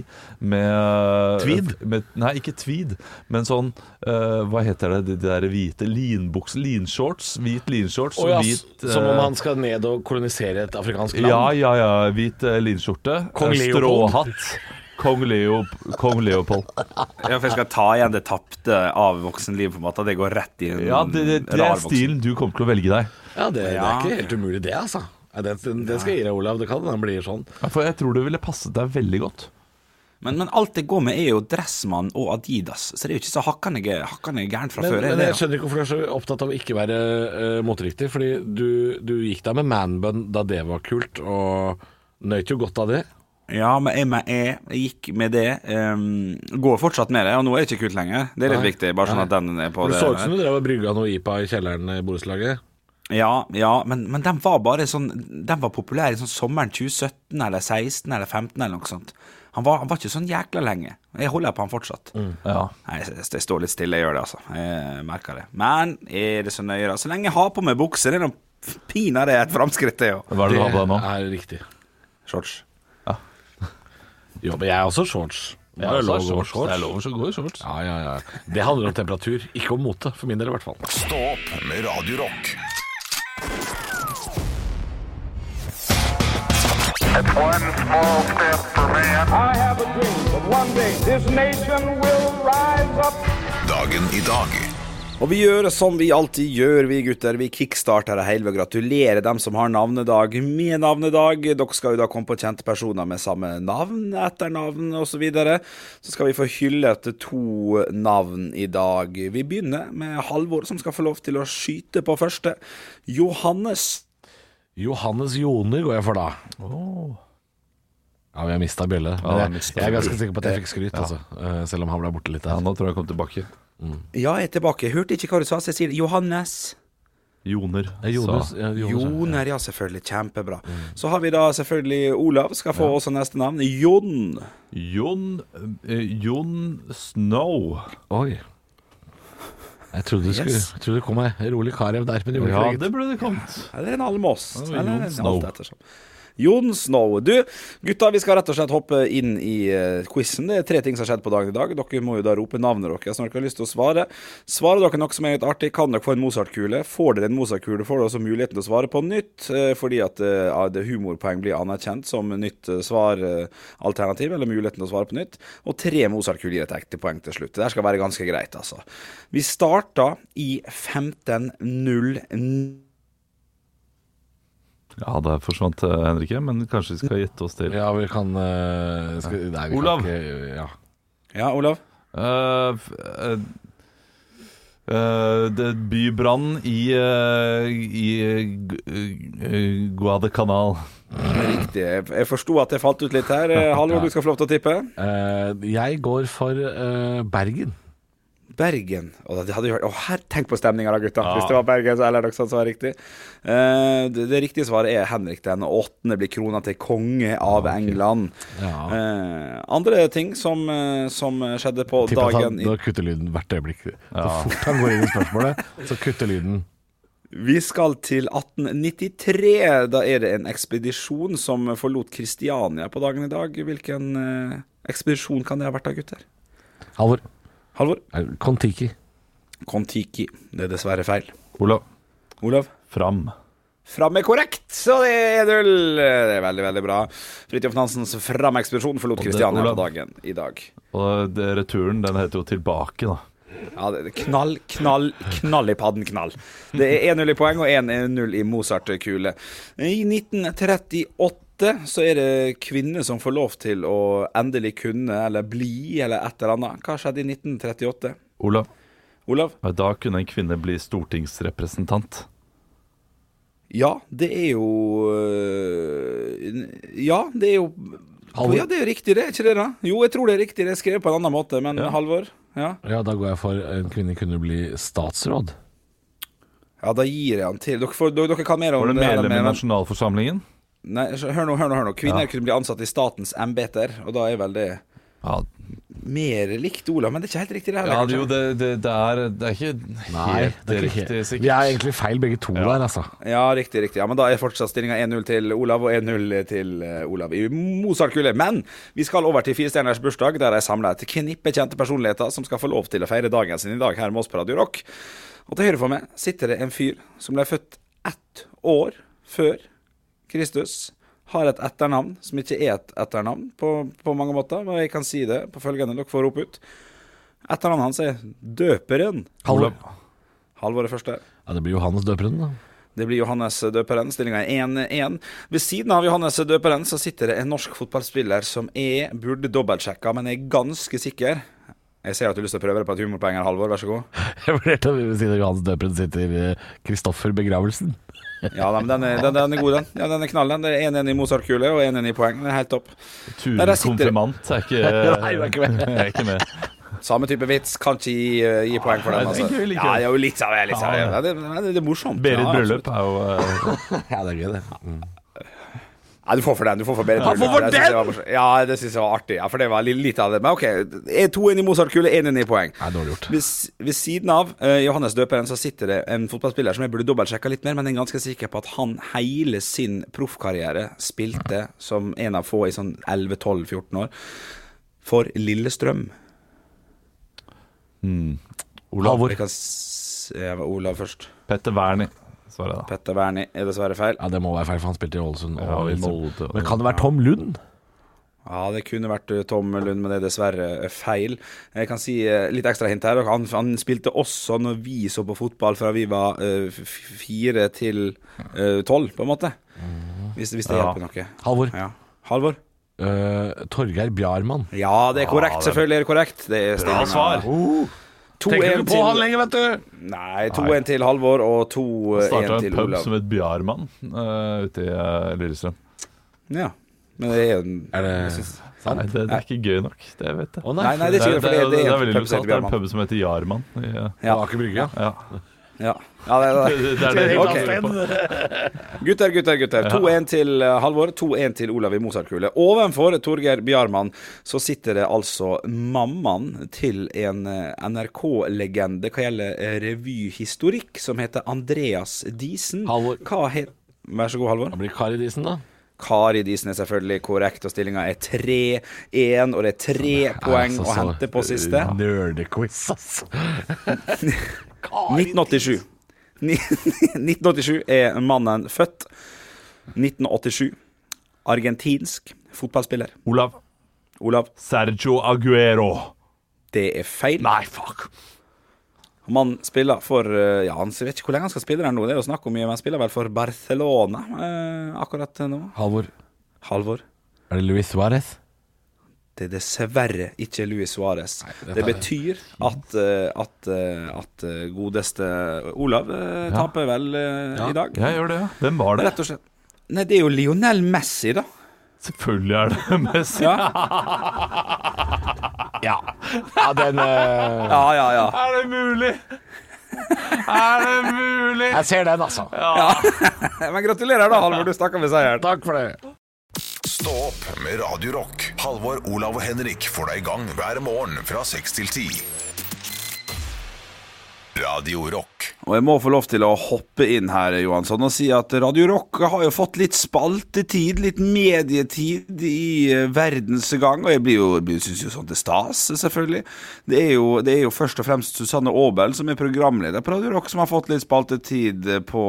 Speaker 6: med
Speaker 5: Tweed?
Speaker 6: Med, nei, ikke tweed, men sånn eh, Hva heter det? De der hvite linbuks... Linshorts? Hvit linshorts og hvit
Speaker 5: som om
Speaker 6: eh,
Speaker 5: han skal ned og kolonisere et afrikansk land?
Speaker 6: ja, ja, ja. Hvit eh, linskjorte.
Speaker 5: Kong
Speaker 6: eh,
Speaker 5: Leopold.
Speaker 6: Stråhatt. Kong, Leo, Kong Leopold.
Speaker 4: Ja, for jeg skal ta igjen det tapte av voksenlivet, på en måte. at Det går rett i en
Speaker 6: Ja, det, det, det
Speaker 4: rar
Speaker 6: er
Speaker 4: voksen.
Speaker 6: stilen du kommer til å velge deg.
Speaker 5: Ja, det, det er
Speaker 4: Ja.
Speaker 5: ikke helt umulig, det, altså. Ja, Det, det, det skal jeg gi deg, Olav. Det kan hende han blir sånn.
Speaker 6: Ja, For jeg tror det ville passet deg veldig godt.
Speaker 4: Men, men alt det går med er jo Dressmann og Adidas, så det er jo ikke så hakkande, gæ- hakkande gærent fra
Speaker 5: Men,
Speaker 4: før. er
Speaker 5: men
Speaker 4: det,
Speaker 5: jeg skjønner ikke hvorfor du er så opptatt av å ikke være eh, moteriktig. Fordi du, du gikk da med manbun da det var kult, og nøt jo godt av det.
Speaker 4: da? Ja, men jeg, men jeg, jeg gikk med det. ehm, går fortsatt med det, og nå er det ikke kult lenger. Det er litt
Speaker 5: Nei.
Speaker 4: viktig, bare sånn
Speaker 5: Nei.
Speaker 4: at den er på
Speaker 5: For Det
Speaker 4: det.
Speaker 5: så ut som du drev og brygga noe IPA i kjelleren i borettslaget.
Speaker 4: Ja, ja, men, men den var bare sånn Den var populær i sånn sommeren 2017 eller 16 eller 15 eller noe sånt. Han var, han var ikke sånn jækla lenge. Jeg holder på han fortsatt.
Speaker 6: Ja
Speaker 4: Nei, jeg, jeg, jeg står litt stille, jeg gjør det, altså. Jeg merker det. Men er det så nøye, da? Så lenge jeg har på meg bukser, det er nå pinadø et framskritt, det jo.
Speaker 6: Hva er det du har på deg nå?
Speaker 5: er riktig.
Speaker 4: Shorts.
Speaker 5: Jo, men jeg er også shorts. Det er lov å gå med shorts.
Speaker 6: altså, Det er lov å gå i shorts.
Speaker 5: Ja, ja, ja. Det handler om temperatur, ikke om mote, for min del i hvert fall.
Speaker 1: Stå opp med Radio Rock.
Speaker 7: One small step for man. I have a dream that one day this nation will rise up.
Speaker 1: Dagen i dag.
Speaker 4: Og vi gjør som vi alltid gjør, vi gutter. Vi kickstarter det hele ved å gratulere dem som har navnedag med navnedag. Dere skal jo da komme på kjente personer med samme navn, etternavn osv. Så, videre. så skal vi få hyllet to navn i dag. Vi begynner med Halvor, som skal få lov til å skyte på første. Johannes.
Speaker 5: Johannes Joner går jeg for da. Ja, vi har mista bjelle. Men
Speaker 6: vi har
Speaker 5: jeg,
Speaker 6: mistet
Speaker 5: jeg er ganske sikker på at jeg fikk skryt, altså. Eh, Selv om han ble borte litt
Speaker 6: Ja,
Speaker 5: der.
Speaker 6: nå tror jeg jeg kom tilbake.
Speaker 4: Ja, jeg er tilbake. Jeg hørte ikke hva du sa, så jeg sier Johannes.
Speaker 6: Joner.
Speaker 5: Eh, Jonas, ja, Jonas,
Speaker 4: Joner, ja, selvfølgelig. Kjempebra. Så har vi da selvfølgelig Olav, skal få også neste navn. Jon.
Speaker 6: Sa. Jon eh, Jon Snow.
Speaker 5: ja. Oi. Jeg trodde det skulle
Speaker 4: Yes.
Speaker 5: jeg trodde det kom ei rolig Carew der, men det gjorde
Speaker 6: Ja,
Speaker 5: ikke det.
Speaker 6: det burde det kommet.
Speaker 4: Eller en almost.
Speaker 6: Ja,
Speaker 4: Eller
Speaker 6: Jon
Speaker 4: en
Speaker 6: Snow.
Speaker 4: alt ettersom. Jon Snow. Du, gutta, vi skal rett og slett hoppe inn i eh, quizen. Det er tre ting som har skjedd på dagen i dag. Dere må jo da rope navnet deres når dere har lyst til å svare. Svarer dere noe som er litt artig, kan dere få en Mozart-kule. Får dere en Mozart-kule, får dere også muligheten til å svare på nytt, eh, fordi at eh, ja, det humorpoeng blir anerkjent som nytt eh, svaralternativ, eller muligheten til å svare på nytt. Og tre Mozart-kuler gir et ekte poeng til slutt. Det her skal være ganske greit, altså. Vi starta i 15.09.
Speaker 6: Ja, der forsvant eh, Henrikke, men kanskje vi skal gjette oss til.
Speaker 5: Ja, vi kan eh, skal, Nei, vi
Speaker 6: Olav.
Speaker 5: kan ikke ja.
Speaker 4: Ja, Olav?
Speaker 6: Eh, f- eh, eh, det bybrann i, eh, i eh, Gu- eh, Guadalcanal.
Speaker 4: Riktig. Jeg- Jeg forsto at jeg falt ut litt her. Eh, Halvor, du skal få lov til å tippe.
Speaker 5: Eh, Jeg går for eh, Bergen.
Speaker 4: Bergen. Å, det hadde jo vært Å, her, tenk på stemninga da, gutta. Hvis det var Bergen, så eller noe sånt som var riktig. Eh, det, det riktige svaret er Henrik den åttende blir krona til konge av England.
Speaker 5: Ja.
Speaker 4: Eh, andre ting som, eh, som skjedde på
Speaker 5: Tipper at han
Speaker 4: dagen i
Speaker 5: da kutter lyden hvert øyeblikk. Så fort han går inn i spørsmålet, så kutter lyden.
Speaker 4: Vi skal til 1893. Da er det en ekspedisjon som forlot Kristiania på dagen i dag. Hvilken eh, ekspedisjon kan det ha vært da, gutter?
Speaker 5: Halvor.
Speaker 4: Halvor?
Speaker 5: er- Kon-Tiki.
Speaker 4: Kon-Tiki. Det er dessverre feil.
Speaker 6: Olav.
Speaker 4: Olav?
Speaker 6: Fram.
Speaker 4: Fram er korrekt, så det er 1-0. Det er veldig, veldig bra. Fridtjof Nansens Fram-ekspedisjon forlot
Speaker 6: det-
Speaker 4: Kristiania på
Speaker 6: Olav.
Speaker 4: dagen i dag.
Speaker 6: Og det, returen den heter jo 'Tilbake', da.
Speaker 4: Ja, det er knall, knall, knall i padden, knall. Det er 1-0 i poeng og 1-0 i Mozart-kule. I 1938 så er det kvinner som får lov til å endelig kunne, eller bli, eller et eller annet. Hva skjedde i 1938?
Speaker 6: Olav.
Speaker 4: Olav?
Speaker 6: Da kunne en kvinne bli stortingsrepresentant.
Speaker 4: Ja, det er jo øh, Ja, det er jo
Speaker 5: Halvor?
Speaker 4: Ja, det er jo riktig, det. Er ikke det, da? Jo, jeg tror det er riktig. Det er skrevet på en annen måte, men Halvor? Ja.
Speaker 5: Ja, da går jeg for en kvinne kunne bli statsråd.
Speaker 4: ja, da gir jeg han til. Dere, får, dere, dere kan mer om
Speaker 6: Var det
Speaker 4: det. her,
Speaker 6: medlem i
Speaker 4: men-
Speaker 6: nasjonalforsamlingen?
Speaker 4: Nei, så hør nå, hør nå, hør nå. Kvinner kunne bli ansatt i statens embeter, og da er vel det
Speaker 6: Ja,
Speaker 4: mer likt Olav, men det er ikke helt riktig det
Speaker 6: ja
Speaker 4: heller.
Speaker 6: det, jo,
Speaker 4: kanskje?
Speaker 6: det, det, det, er, det er ikke helt
Speaker 5: det er ikke-
Speaker 6: riktig, sikkert.
Speaker 5: Vi er egentlig feil begge to der, altså.
Speaker 4: ja, riktig, riktig. Ja, men da er fortsatt stillinga 1-0 til Olav og 1-0 til eh, Olav i Mozart-kule. Men vi skal over til firestjerners bursdag, der de samler et knippe kjente personligheter som skal få lov til å feire dagen sin i dag her med oss på Radio Rock. Og til høyre for meg sitter det en fyr som ble født ett år før Kristus har et etternavn som ikke er et etternavn på, på mange måter, men jeg kan si det på følgende, dere får rope ut. Etternavnet hans er Døperen.
Speaker 5: Halvor.
Speaker 4: Halvor er første.
Speaker 5: Ja, det blir Johannes døperen, da.
Speaker 4: Det blir Johannes Døperen. Stillinga er 1-1. Ved siden av Johannes Døperen så sitter det en norsk fotballspiller som jeg burde dobbeltsjekka, men jeg er ganske sikker. Jeg ser at du har lyst til å prøve det på et humorpoeng her, Halvor. Vær så god.
Speaker 5: Jeg vurderte å si at Johannes døperen sitter eh, Kristoffer Begravelsen.
Speaker 4: Ja, nei, men den er, den, den er god, den. Ja, den er knall, den. Det er 1-1 i Mozart-kule og 1-1 i poeng. Det er helt topp. Nei, der
Speaker 6: Turens
Speaker 4: sitter det.
Speaker 6: konfirmant er ikke, Nei,
Speaker 5: du er ikke med.
Speaker 6: er ikke med.
Speaker 4: Samme type vits. Kan ikke gi, gi poeng for den.
Speaker 6: Nei, det er
Speaker 4: Altså.
Speaker 6: gøy, like
Speaker 4: Ja,
Speaker 6: gøy.
Speaker 4: det er jo litt av det. Litt av det.
Speaker 6: Ja, ja.
Speaker 4: Det, det, det er morsomt.
Speaker 6: Berit
Speaker 4: Ja,
Speaker 6: bryllup er jo eh,
Speaker 5: Ja, det er gøy, det.
Speaker 4: Nei, du får for den. Du får for Berit Bryllup. Jeg synes det var morsomt. Ja, det syns jeg var artig. Ja, for det var li- litt av det. Men OK. er To inn i Mozart-kule, én inn i poeng.
Speaker 5: Nei, dårlig gjort.
Speaker 4: Ved, s- ved siden av eh, Johannes døperen så sitter det en fotballspiller som jeg burde dobbeltsjekka litt mer, men jeg er ganske sikker på at han hele sin proffkarriere spilte som en av få i sånn 11-12-14 år for Lillestrøm.
Speaker 6: Olav.
Speaker 4: Jeg kan s jeg var Olav først.
Speaker 6: Petter Wernie, svarer jeg da.
Speaker 4: Petter Wernie er dessverre feil.
Speaker 5: Ja, Det må være feil, for han spilte i Ålesund
Speaker 6: Ja,
Speaker 5: og i
Speaker 6: i Molde
Speaker 5: Molde.
Speaker 6: og-
Speaker 5: Men kan det være Tom Lund?
Speaker 4: Ja, det kunne vært eh, Tom Lund, men det er dessverre eh, feil. Jeg kan si eh, litt ekstra hint her. Han, han spilte også når vi så på fotball fra vi var eh, f- f- fire til eh, tolv, på en måte. Hvis, hvis det
Speaker 6: Ja.
Speaker 4: hjelper noe.
Speaker 5: Halvor.
Speaker 4: Ja. Halvor?
Speaker 5: Eh, Torgeir Bjarmann.
Speaker 4: Ja, det er korrekt. Selvfølgelig er det korrekt. Det er
Speaker 6: Bra svar!
Speaker 5: Tenker
Speaker 4: 2-1
Speaker 5: du på han
Speaker 4: til,
Speaker 5: lenger, vet du!
Speaker 4: Nei, 2-1 til Halvor og 2-1
Speaker 6: Starta en
Speaker 4: til
Speaker 6: pub
Speaker 4: Olav.
Speaker 6: som het Bjarmann eh, ute i eh, Lillestrøm.
Speaker 4: Ja. Men det er jo en
Speaker 5: Er det
Speaker 4: jeg synes-
Speaker 6: Nei, det, det er ikke gøy nok. Det vet jeg.
Speaker 5: Å
Speaker 4: Nei, nei, det
Speaker 6: Det,
Speaker 4: sier jeg
Speaker 6: det,
Speaker 4: fordi
Speaker 6: er- det er
Speaker 4: en
Speaker 6: veldig
Speaker 4: pub som heter
Speaker 6: lokalt. Det er en
Speaker 4: Bjarmann.
Speaker 6: pub som heter Jarmann. i, eh,
Speaker 4: Ja.
Speaker 5: Aker Brygge, ja.
Speaker 6: Ja.
Speaker 4: Ja, ja det, er det.
Speaker 6: Det, det er det
Speaker 4: Ok.
Speaker 6: jeg lurer på.
Speaker 4: Gutter, gutter, gutter. 2-1 til eh, Halvor, 2-1 til Olav i Mozartkule. Ovenfor Torgeir Bjarmann så sitter det altså mammaen til en eh, NRK-legende hva gjelder eh, revyhistorikk, som heter Andreas Diesen.
Speaker 5: Halvor.
Speaker 4: Hva het Vær så god, Halvor.
Speaker 5: Han blir Kari Disen, da.
Speaker 4: Kari Disen er selvfølgelig korrekt, og stillinga er 3-1. Og det er tre poeng å hente på siste.
Speaker 5: altså, eh, Nerdequiz, ass.
Speaker 4: 1987. Ni- 1987 er mannen født. 1987. Argentinsk fotballspiller.
Speaker 6: Olav
Speaker 4: Olav,
Speaker 6: Sergio Aguero.
Speaker 4: det er feil.
Speaker 6: Nei, fuck!
Speaker 4: Man spiller for eh, Ja, han jeg vet ikke hvor lenge han skal spille der nå. Det er jo snakk om mye, men han spiller vel for Barcelona eh, akkurat nå.
Speaker 5: Halvor,
Speaker 4: Halvor.
Speaker 5: er det Luis Suárez?
Speaker 4: Det er dessverre ikke Luis Suárez.
Speaker 5: dette
Speaker 4: Det
Speaker 5: er-
Speaker 4: betyr at, eh, at, eh, at eh, godeste Olav eh, taper vel eh, i dag.
Speaker 6: Jeg gjør det, ja. Hvem var det?
Speaker 4: Rett og slett. Nei, det er jo Lionel Messi, da.
Speaker 6: Selvfølgelig er det Messi.
Speaker 4: Ja,
Speaker 5: Ja. ja den eh,
Speaker 4: ja, ja. ja.
Speaker 6: Er det mulig? Er det mulig?
Speaker 5: Jeg ser den, altså.
Speaker 4: Men gratulerer, da, Halvor. Du snakker med seieren.
Speaker 5: Takk for det.
Speaker 1: Stå opp med Radio Rock. Halvor, Olav og Henrik får deg i gang hver morgen fra 6 til 10. Radio Rock.
Speaker 4: Og jeg må få lov til å hoppe inn her, Johansson, og si at Radio Rock har jo fått litt spaltetid, litt medietid i eh, verdens gang, og jeg blir jo, blir- synes jo sånt er stas, selvfølgelig. Det er, jo, det er jo først og fremst Susanne Aabel, som er programleder på Radio Rock, som har fått litt spaltetid eh, på,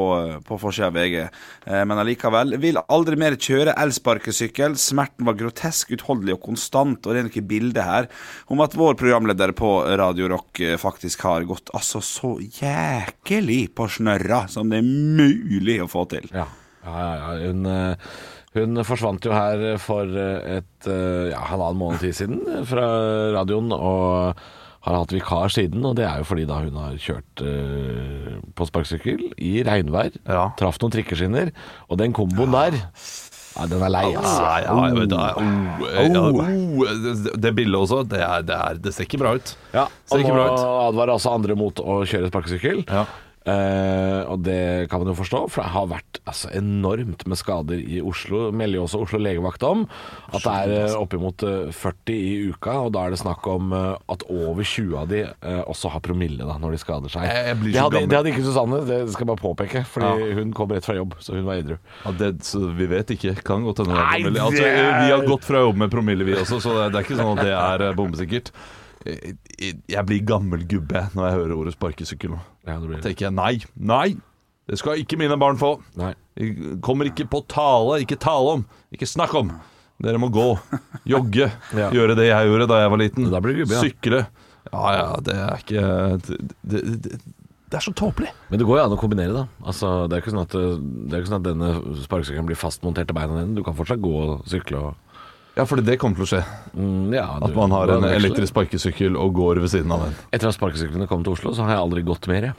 Speaker 4: på forsida av VG. Eh, Men allikevel. Vil aldri mer kjøre elsparkesykkel. Smerten var grotesk, utholdelig og konstant, og det er noe bilde her om at vår programleder på Radio Rock eh, faktisk har gått altså så jækelig på snørra som det er mulig å få til.
Speaker 5: Ja, ja, ja, ja. Hun, eh, hun forsvant jo her eh, for eh, et eh, ja, halvannen måned tid siden eh, fra radioen, og har hatt vikar siden. Og det er jo fordi da hun har kjørt eh, på sparkesykkel i regnvær,
Speaker 6: Ja.
Speaker 5: traff noen trikkeskinner, og den komboen der ja, Den er lei, altså.
Speaker 6: Ja, ja, jeg vet det. Oh, ja, oh, det- det bildet også, det, er, det, er, det ser ikke bra ut.
Speaker 5: Ja,
Speaker 6: Ser
Speaker 5: og
Speaker 6: ikke
Speaker 5: nå
Speaker 6: bra ut.
Speaker 5: advarer altså andre mot å kjøre sparkesykkel.
Speaker 6: Ja.
Speaker 5: Eh, og det kan man jo forstå, for det har vært altså, enormt med skader i Oslo. Melder jo også Oslo legevakt om at det er eh, oppimot eh, 40 i uka, og da er det snakk om eh, at over 20 av de eh, også har promille da, når de skader seg.
Speaker 6: Jeg- jeg blir
Speaker 5: det,
Speaker 6: så
Speaker 5: hadde,
Speaker 6: gammel.
Speaker 5: det hadde ikke Susanne, det skal jeg bare påpeke, fordi hun kom rett fra jobb, så hun var edru.
Speaker 6: Ja, det, så vi vet ikke. Kan godt hende det
Speaker 5: Nei,
Speaker 6: er promille. Altså,
Speaker 5: det er-
Speaker 6: vi har gått fra jobb med promille, vi også, så det, det er ikke sånn at det er eh, bombesikkert. Jeg- Jeg jeg blir gammel gubbe når jeg hører ordet sparkesykkel. nå.
Speaker 5: Ja, det blir det.
Speaker 6: tenker jeg nei, nei! Det skal ikke mine barn få.
Speaker 5: Nei.
Speaker 6: Det Kommer ikke på tale. Ikke tale om. Ikke snakk om. Dere må gå. Jogge.
Speaker 5: Ja.
Speaker 6: Gjøre det jeg gjorde da jeg var liten.
Speaker 5: Da blir du gubbe, ja.
Speaker 6: Sykle. Ja ja, det er ikke Det, det, det, det er så tåpelig.
Speaker 5: Men det går jo an å kombinere, da. Altså, det er jo ikke sånn at, eh, det er jo ikke sånn at denne sparkesykkelen blir fastmontert til beina dine. Du kan fortsatt gå og sykle og
Speaker 6: Ja, for det kommer til å skje.
Speaker 5: Mm, ja,
Speaker 6: At
Speaker 5: du-
Speaker 6: man har en
Speaker 5: hvordan veksler?
Speaker 6: elektrisk sparkesykkel og går ved siden av den.
Speaker 5: Etter at sparkesyklene kom til Oslo, så har jeg aldri gått mer. Jeg.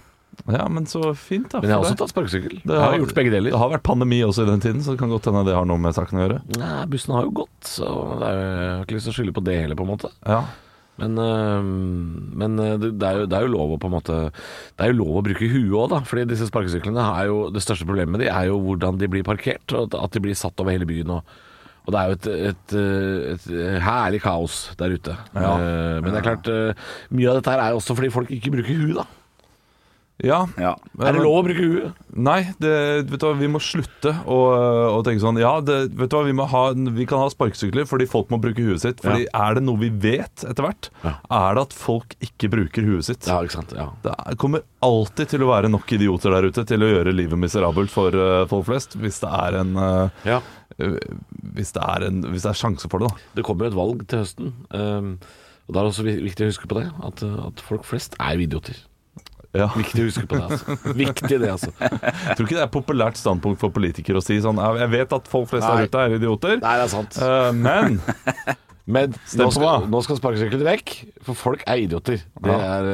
Speaker 6: Ja, men så fint, da.
Speaker 5: Men jeg har
Speaker 6: for
Speaker 5: også
Speaker 6: deg.
Speaker 5: tatt sparkesykkel.
Speaker 6: Det
Speaker 5: Jeg har gjort begge deler.
Speaker 6: Det har vært pandemi også i den tiden, så det kan godt hende det har noe med saken å gjøre.
Speaker 5: Nei, bussen har jo gått, så det er, jo- jeg har ikke lyst til å skylde på det heller, på en måte.
Speaker 6: Ja.
Speaker 5: Men, øh, men øh, det, det, er jo, det er jo lov å på en måte Det er jo lov å bruke huet òg, da. Fordi disse sparkesyklene er jo Det største problemet med de er jo hvordan de blir parkert, og at- at de blir satt over hele byen. Og, og det er jo et, et, øh, et øh, herlig kaos der ute.
Speaker 6: Ja.
Speaker 5: Eh, men det er klart, øh, mye av dette her er jo også fordi folk ikke bruker huet, da.
Speaker 6: ja.
Speaker 4: Ja.
Speaker 5: Er det lov å bruke huet?
Speaker 6: Nei, det, vet du hva, vi må slutte å, å tenke sånn Ja, det, vet du hva, vi, må ha, vi kan ha sparkesykler fordi folk må bruke huet sitt. Fordi er det noe vi vet etter hvert,
Speaker 5: Ja.
Speaker 6: er det at folk ikke bruker huet sitt.
Speaker 5: Ja, ikke sant. Ja.
Speaker 6: Det er- kommer alltid til å være nok idioter der ute til å gjøre livet miserabelt for eh, folk flest, hvis det er en eh,
Speaker 5: ja.
Speaker 6: eh, Hvis det er, en, hvis det er sjanse for det, da.
Speaker 5: Det kommer jo et valg til høsten. ehm, og Da er det også vi- viktig å huske på det, at, eh, at folk flest er jo idioter.
Speaker 6: Ja.
Speaker 5: Viktig å huske på det, altså. Viktig det, altså.
Speaker 6: Jeg tror ikke det er et populært standpunkt for politikere å si sånn «Ja, Jeg vet at folk flest
Speaker 5: Nei.
Speaker 6: der ute er idioter,
Speaker 5: Nei, det er sant.
Speaker 6: eh, men
Speaker 5: Men
Speaker 6: Stem
Speaker 5: nå
Speaker 6: på
Speaker 5: skal,
Speaker 6: meg.
Speaker 5: nå skal sparkesykkelen vekk, for folk er idioter. Det,
Speaker 6: Ja.
Speaker 5: er,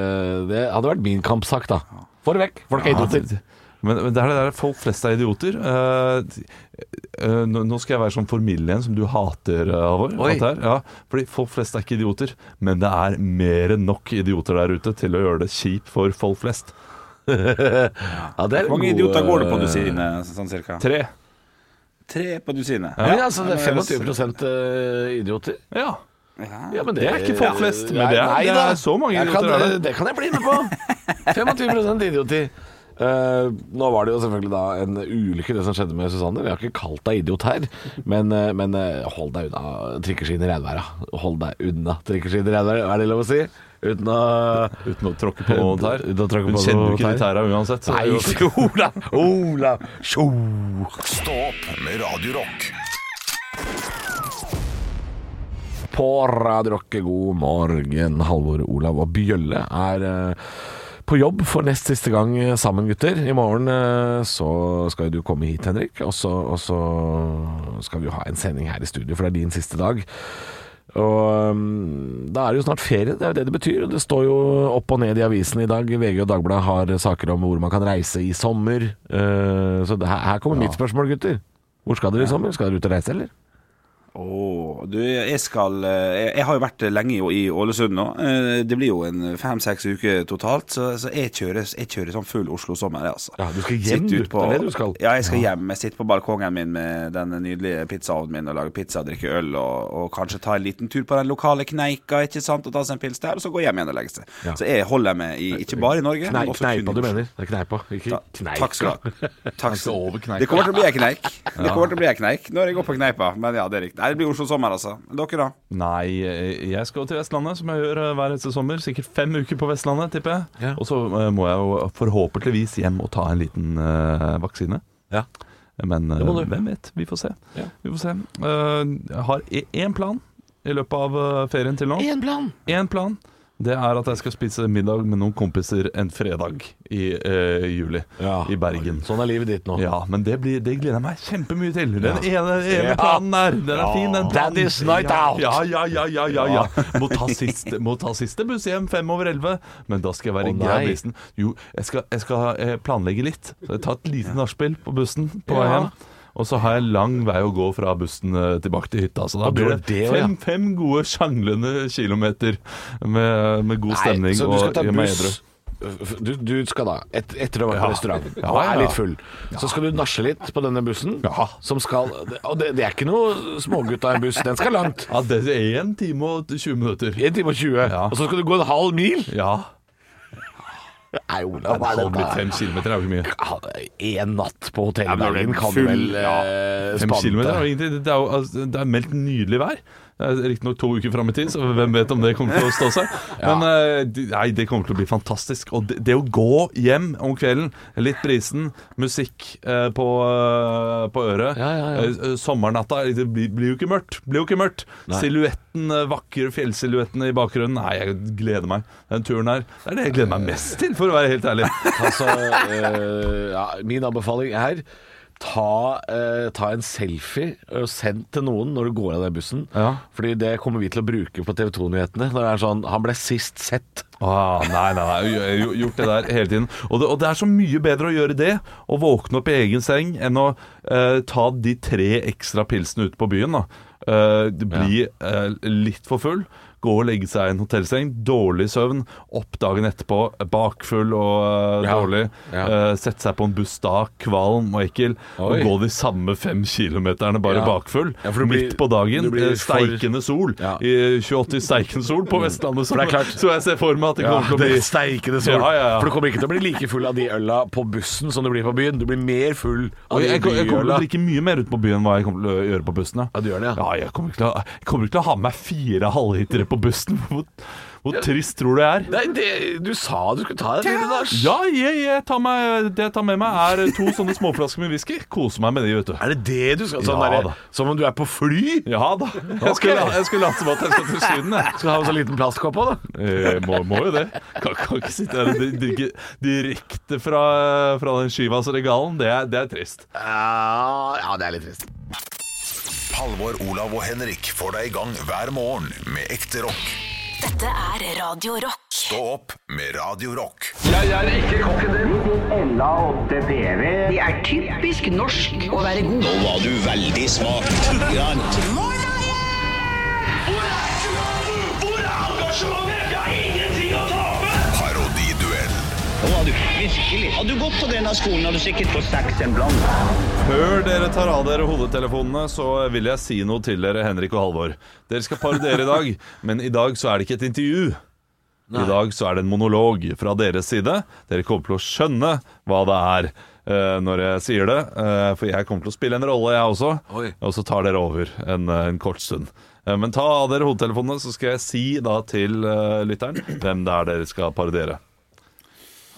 Speaker 5: eh, det hadde vært min kampsak, da. Få det vekk, folk er
Speaker 6: Ja,
Speaker 5: idioter.
Speaker 6: det- men, men det er det der folk flest er idioter. Eh, eh, nå nå skal jeg være sånn formidlende igjen, som du hater, eh, Halvor.
Speaker 5: Oi.
Speaker 6: at her, Ja, fordi folk flest er ikke idioter, men det er mer enn nok idioter der ute til å gjøre det kjipt for folk flest.
Speaker 5: Ja, det er
Speaker 4: Hvor mange
Speaker 5: gode-
Speaker 4: idioter går det på dusinet, sånn cirka?
Speaker 6: Tre.
Speaker 4: Tre på dusinet.
Speaker 5: Ja, men altså, det er 25 eh, idioter.
Speaker 6: Ja.
Speaker 5: Ja, men
Speaker 6: Det er ikke folk flest, men det er-
Speaker 5: nei
Speaker 6: det er
Speaker 5: da.
Speaker 6: så mange
Speaker 5: Jeg
Speaker 6: idioter
Speaker 5: Kan,
Speaker 6: er det.
Speaker 5: det kan jeg bli med på. 25 idioter. Eh, nå var det jo selvfølgelig da en ulykke, det som skjedde med Susanne. Vi har ikke kalt deg idiot her, men, eh, men eh, hold deg unna trikkeskinn i regnværet. Hold deg unna trikkeskinn i regnværet, er det lov å si? Uten å
Speaker 6: Uten å
Speaker 5: Eh,
Speaker 6: tråkke på noen tær.
Speaker 5: Uten å tråkke
Speaker 6: Hun
Speaker 5: på
Speaker 6: kjenner jo
Speaker 5: noen
Speaker 6: ikke de
Speaker 5: tær.
Speaker 6: tæra uansett. så
Speaker 5: Nei,
Speaker 6: det er jo-
Speaker 5: ikke Ola! Ola! Tjo!
Speaker 1: Stå opp med Radio Rock.
Speaker 5: På Radio Rock, god morgen. Halvor, Olav og Bjølle er eh, på jobb for nest siste gang eh, sammen, gutter. I morgen eh, så skal jo du komme hit, Henrik, og så, og så skal vi jo ha en sending her i studio, for det er din siste dag. Og um, da er det jo snart ferie, det er jo det det betyr. Det står jo opp og ned i avisen i dag. VG og Dagbladet har saker om hvor man kan reise i sommer. Eh, så det, her, her kommer mitt spørsmål, gutter. Hvor skal dere i sommer? Skal dere ut og reise, eller?
Speaker 4: Åh, du, jeg skal eh, Jeg, jeg har jo vært lenge i, i Ålesund nå. Eh, Det blir jo en fem-seks uker totalt, så, så jeg, kjører, jeg kjører sånn full Oslo-sommer, jeg, altså.
Speaker 5: Ja, du skal hjem,
Speaker 4: Sitter
Speaker 5: du.
Speaker 4: ut på-
Speaker 5: Det er det du skal.
Speaker 4: Ja, jeg skal hjem. Jeg sitter på balkongen min med den nydelige pizzaovnen min og lager pizza, drikker øl og, og kanskje ta en liten tur på den lokale kneika, ikke sant, og ta seg en pils der, og så gå hjem igjen og legge seg.
Speaker 5: Ja.
Speaker 4: Så jeg holder meg i, ikke bare i Norge,
Speaker 5: Knei,
Speaker 4: men også kun i
Speaker 5: kneipa du
Speaker 4: Oslo.
Speaker 5: mener. Det er kneipa, ikke
Speaker 4: Ta-
Speaker 5: kneika.
Speaker 4: Takk skal du ha. Takk skal
Speaker 6: skal over kneika.
Speaker 4: Det kommer til å bli en kneik. Det kommer til å bli en kneik når jeg går på kneipa. Men ja, det er riktig. Nei, det blir Oslo sommer, altså. Dere, da?
Speaker 6: Nei, eh, jeg skal til Vestlandet, som jeg gjør eh, hver eneste sommer. Sikkert fem uker på Vestlandet, tipper jeg.
Speaker 5: Ja.
Speaker 6: Og så eh, må jeg jo forhåpentligvis hjem og ta en liten eh, vaksine.
Speaker 5: Ja.
Speaker 6: Men eh,
Speaker 5: må du.
Speaker 6: hvem vet? Vi får se.
Speaker 5: Ja.
Speaker 6: Vi får se. Eh, jeg har i- én plan i løpet av eh, ferien til nå.
Speaker 5: Én plan!
Speaker 6: Én plan. Det er at jeg skal spise middag med noen kompiser en fredag i eh, juli i Bergen.
Speaker 5: Sånn er livet ditt nå.
Speaker 6: Ja, men det, blir, det gleder jeg meg kjempemye til. Den ene, ene
Speaker 5: Ja.
Speaker 6: planen der. Den er fin, den. planen.
Speaker 5: Daddy's night out.
Speaker 6: Ja, ja, ja, ja, ja, ja. Må ta siste, må ta siste buss hjem fem over elleve. Men da skal jeg være
Speaker 5: Å, nei.
Speaker 6: grabbisen. Jo, jeg skal, jeg skal eh, planlegge litt. Så jeg tar et lite nachspiel på bussen på vei
Speaker 5: Ja.
Speaker 6: hjem. Og så har jeg lang vei å gå fra bussen eh, tilbake til hytta. Så da
Speaker 5: Og du
Speaker 6: blir
Speaker 5: har
Speaker 6: det
Speaker 5: det, ja.
Speaker 6: fem, fem gode sjanglende kilometer med, med god stemning.
Speaker 5: så du skal
Speaker 6: og
Speaker 5: ta
Speaker 6: gjør meg edru.
Speaker 5: buss du, du skal da, et, etter å ha vært på
Speaker 6: Ja.
Speaker 5: restaurant
Speaker 6: Ja,
Speaker 5: og er
Speaker 6: ja.
Speaker 5: litt full, så skal du nasje litt på denne bussen.
Speaker 6: Ja.
Speaker 5: Som skal, og det, det er ikke noe smågutt av en buss, den skal langt.
Speaker 6: Ja, det er én time og 20 minutter.
Speaker 5: 1 time og 20,
Speaker 6: Ja.
Speaker 5: og så skal du gå en halv mil?
Speaker 6: Ja.
Speaker 5: Nei, Olav, hva er
Speaker 6: Halv
Speaker 5: dette
Speaker 6: minutt, fem kilometer er jo ikke mye.
Speaker 5: her? En natt på hotellet i
Speaker 4: men det er
Speaker 5: Bergen kan du
Speaker 4: full-
Speaker 5: vel
Speaker 4: ja.
Speaker 5: eh,
Speaker 6: Fem kilometer er
Speaker 5: spante.
Speaker 6: jo ingenting. Det er, jo, altså, det er meldt nydelig vær. Det er Riktignok to uker fram i tid, så hvem vet om det kommer til å stå seg. Men eh, de- nei, det kommer til å bli fantastisk. Og det, det å gå hjem om kvelden, litt brisen, musikk eh, på, eh, på øret
Speaker 5: Ja, ja, ja.
Speaker 6: eh, eh, Sommernatta Det blir, blir jo ikke mørkt. Blir jo ikke mørkt. Silhuetten, eh, vakre fjellsilhuettene i bakgrunnen. Nei, jeg gleder meg. Den turen her. Det er det jeg gleder meg mest til, for å være helt ærlig.
Speaker 5: Altså, eh, ja, min anbefaling er ta, eh, ta en selfie og send til noen når du går av den bussen.
Speaker 6: Ja.
Speaker 5: Fordi det kommer vi til å bruke på TV 2-nyhetene. Når det er sånn 'Han ble sist sett'.
Speaker 6: Ah, nei, nei, nei, jeg har jo gjort det der hele tiden. Og det, og det er så mye bedre å gjøre det, å våkne opp i egen seng, enn å eh, ta de tre ekstra pilsene ute på byen. da Eh, det Bli eh, litt for full, gå og legge seg i en hotellseng, dårlig søvn, opp dagen etterpå, bakfull og eh,
Speaker 5: Ja.
Speaker 6: dårlig.
Speaker 5: Ja.
Speaker 6: Eh, sette seg på en buss da, kvalm og ekkel,
Speaker 5: Oi.
Speaker 6: og gå de samme fem kilometerne bare
Speaker 5: Ja.
Speaker 6: bakfull.
Speaker 5: Ja, for du blir-
Speaker 6: midt på dagen,
Speaker 5: du blir
Speaker 6: eh,
Speaker 5: for-
Speaker 6: steikende sol.
Speaker 5: Ja. Mm.
Speaker 6: I 28 i steikende sol på Vestlandet. Så,
Speaker 5: For det er klart-
Speaker 6: så jeg ser for meg at det kommer til å bli
Speaker 5: steikende
Speaker 6: Ja, ja, ja.
Speaker 5: For du kommer ikke til å bli like full av de øla på bussen som du blir på byen. Du blir mer full av
Speaker 6: Oi,
Speaker 5: de
Speaker 6: jeg, kom- jeg kommer til å
Speaker 5: byøla.
Speaker 6: drikke mye mer ute på byen enn hva jeg kommer til å gjøre på bussen.
Speaker 5: Ja, du gjør det, ja.
Speaker 6: ja. jeg, kommer ikke til å, jeg kommer ikke til å ha med meg fire halvlitere på bussen. Hvor, hvor trist tror du jeg er?
Speaker 5: Nei, det, du sa du skulle ta en liten nach.
Speaker 6: Ja, jeg, jeg tar meg, det jeg tar med meg, er to sånne småflasker med whisky. Koser meg med de, vet du.
Speaker 5: Er det det du skal? Sånn
Speaker 6: Ja,
Speaker 5: derre-
Speaker 6: da.
Speaker 5: som om du er på fly?
Speaker 6: Ja da. Jeg skulle, jeg skulle late som at jeg skal til Syden, jeg.
Speaker 5: Skal du ha en sånn liten plastkopp òg, da?
Speaker 6: Eh, Må, må jo det. Kan, kan ikke sitte her og dri- drikke direkte fra, fra den Skyvas regalen. Det er, det er trist.
Speaker 5: Ja, ja, det er litt trist.
Speaker 1: Halvor, Olav og Henrik får deg i gang hver morgen med ekte rock.
Speaker 2: Dette er Radio Rock.
Speaker 1: Stå opp med Radio Rock.
Speaker 8: Det er typisk norsk å være god. Nå var du veldig smak.
Speaker 9: Hvor er engasjementet? Jeg har ingenting å tape!
Speaker 1: Parodiduell.
Speaker 8: Nå var du virkelig. Hadde du gått på denne skolen, hadde du sikkert fått seks en blant.
Speaker 6: Før dere tar av dere hodetelefonene, så vil jeg si noe til dere, Henrik og Halvor. Dere skal parodiere i dag, men i dag så er det ikke et intervju. I dag så er det en monolog fra deres side. Dere kommer til å skjønne hva det er eh, når jeg sier det. eh, for jeg kommer til å spille en rolle, jeg også.
Speaker 10: Oi.
Speaker 6: Og så tar dere over en, eh, en kort stund. Eh, men ta av dere hodetelefonene, så skal jeg si da til eh, lytteren hvem det er dere skal parodiere.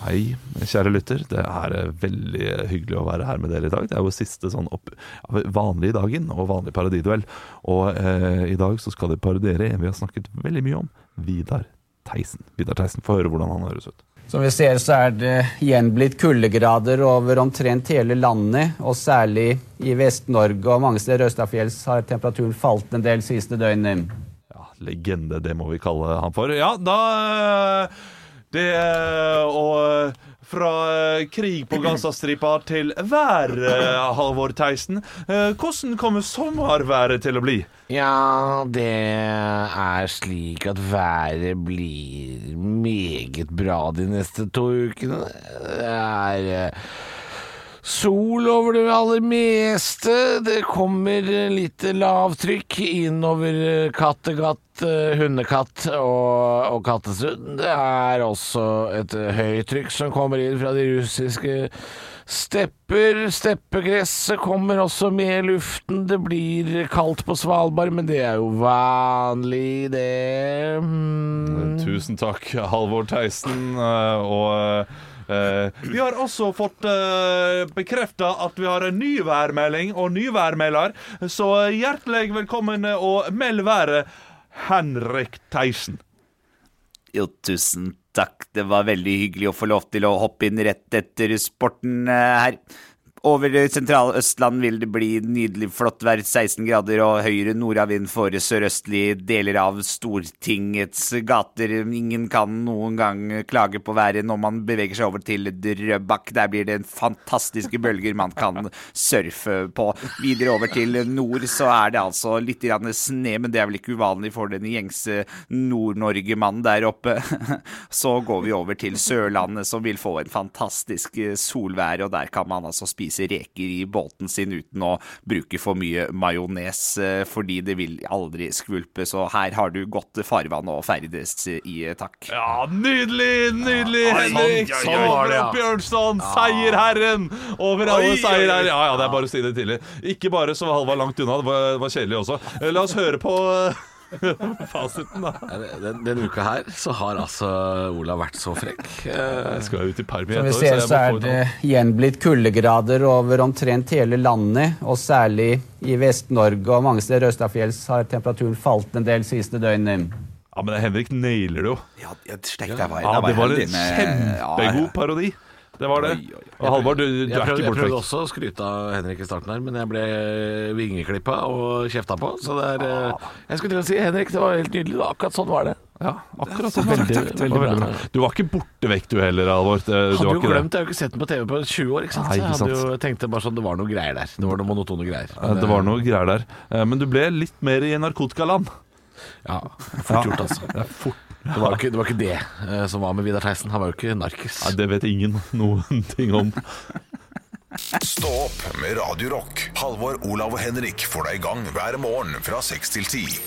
Speaker 6: Hei, kjære lytter. Det er eh, veldig hyggelig å være her med dere i dag. Det er jo siste sånn opp, ja, vanlig dagen og vanlig parodiduell. Og eh, i dag så skal dere parodiere en vi har snakket veldig mye om, Vidar Theisen. Vidar Theisen, få høre hvordan han høres ut.
Speaker 8: Som vi ser så er det igjen blitt kuldegrader over omtrent hele landet, og særlig i Vest-Norge og mange steder Østafjells har temperaturen falt en del siste døgnet.
Speaker 6: Ja, legende, det må vi kalle han for. Ja, da eh, Det eh, Og eh, fra eh, krig på Gazastripa til vær, eh, Halvor Theisen. Eh, Hvordan kommer sommerværet til å bli?
Speaker 5: Ja, det er slik at været blir meget bra de neste to ukene. Det er eh, sol over det aller meste. Det kommer eh, litt lavtrykk innover eh, Kattegat, eh, Hundekatt og, og Kattesund. Det er også et eh, høytrykk som kommer inn fra de russiske stepper. Steppegresset kommer også med luften. Det blir kaldt på Svalbard, men det er jo vanlig, det. Mm.
Speaker 6: Eh, Tusen takk, Halvor Theisen. eh, Og eh, vi har også fått uh, bekrefta at vi har en ny værmelding og ny værmelder. Så hjertelig velkommen eh, og meld været, Henrik Theisen.
Speaker 4: Jo, tusen takk. Det var veldig hyggelig å få lov til å hoppe inn rett etter sporten eh, her. Over Sentral-Østland vil det bli nydelig flott vær, 16 grader og høyere nordavind for sørøstlige deler av Stortingets gater. Ingen kan noen gang klage på været når man beveger seg over til Drøbak. Der blir det fantastiske bølger man kan surfe på. Videre over til nord så er det altså litt grann sne, men det er vel ikke uvanlig for den gjengse Nord-Norge-mannen der oppe. Så går vi over til Sørlandet, som vil få en fantastisk eh, solvær, og der kan man altså spise reker i båten sin uten å bruke for mye majones, eh, fordi det vil aldri skvulpe. Så her har du godt farvann å ferdes i, eh, takk.
Speaker 6: Ja, nydelig, nydelig, Henrik!
Speaker 10: sånn,
Speaker 6: Sånn,
Speaker 10: ja, ja,
Speaker 6: var det,
Speaker 10: ja.
Speaker 6: ja. Bjørnson, seierherren over alle
Speaker 10: Oi, oi, oi.
Speaker 6: seierherrer. Ja, ja, det er bare å si det tidlig. Ikke bare så var Halvard langt unna, det var, det var kjedelig også. Eh, La oss høre på eh, fasiten, da.
Speaker 10: Den, denne uka her så har altså Olav vært så frekk. Eh,
Speaker 6: Jeg skal jo ut i perm i
Speaker 8: Som vi
Speaker 6: et år,
Speaker 8: ser
Speaker 6: jeg
Speaker 8: så
Speaker 6: må få
Speaker 8: er
Speaker 6: ut
Speaker 8: det igjen blitt kuldegrader over omtrent hele landet, og særlig i Vest-Norge og mange steder Østafjells har temperaturen falt en del siste døgnet.
Speaker 6: Ja, men Henrik nailer det jo.
Speaker 4: Ja, ja, steik, der var jeg-
Speaker 6: Ja,
Speaker 4: der var
Speaker 6: det
Speaker 4: jeg
Speaker 6: var
Speaker 4: heldig
Speaker 6: en
Speaker 4: med- ja, ja.
Speaker 6: kjempegod parodi. Det var det.
Speaker 4: Oi, oi, oi.
Speaker 6: Og Halvard, du,
Speaker 10: Jeg
Speaker 6: du er
Speaker 10: prøvde,
Speaker 6: ikke
Speaker 10: jeg prøvde
Speaker 6: bortfekt.
Speaker 10: også å skryte av Henrik i starten her, men jeg ble vingeklippa og kjefta på. Så det er
Speaker 6: Ah.
Speaker 10: eh, Jeg skulle til å si Henrik, det var helt nydelig. Det var Akkurat sånn var det.
Speaker 6: Ja, akkurat sånn. Veldig, veldig,
Speaker 10: takk,
Speaker 6: veldig,
Speaker 10: bra.
Speaker 6: bra. Du var ikke borte vekk du heller, Halvor. Det- Du
Speaker 10: Hadde
Speaker 6: var
Speaker 10: jo
Speaker 6: ikke det.
Speaker 10: glemt, jeg har jo ikke sett den på TV på 20 år, ikke sant. Så
Speaker 6: Nei,
Speaker 10: jeg
Speaker 6: ikke
Speaker 10: hadde
Speaker 6: sant.
Speaker 10: jo tenkte bare sånn, det var noe greier der. Det var noe monotone greier.
Speaker 6: Eh, Det var noe greier der. Eh, Men du ble litt mer i narkotikaland.
Speaker 10: eh, Ja, fort gjort, altså. Det, var jo ikke, det var ikke det eh, som var med Vidar Theisen. Han var jo ikke narkis.
Speaker 6: Nei, det vet ingen noen ting om.
Speaker 1: Stå opp med Radio Rock. Halvor, Olav og Henrik får deg i gang hver morgen fra 6 til 10.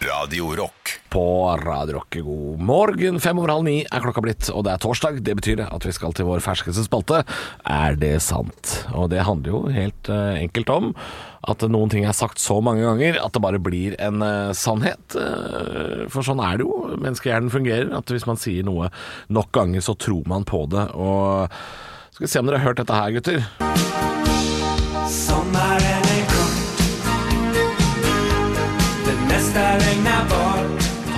Speaker 1: Radio Rock.
Speaker 5: på Radio Rock. God morgen. Fem over halv ni er klokka blitt, og det er torsdag. Det betyr at vi skal til vår ferskeste spalte. Er det sant? Og det handler jo helt eh, enkelt om at noen ting er sagt så mange ganger at det bare blir en eh, sannhet. Eh, for sånn er det jo. Menneskehjernen fungerer. At hvis man sier noe nok ganger, så tror man på det. Og skal vi se om dere har hørt dette her, gutter.
Speaker 11: Sommeren er kort. Det meste regner bort.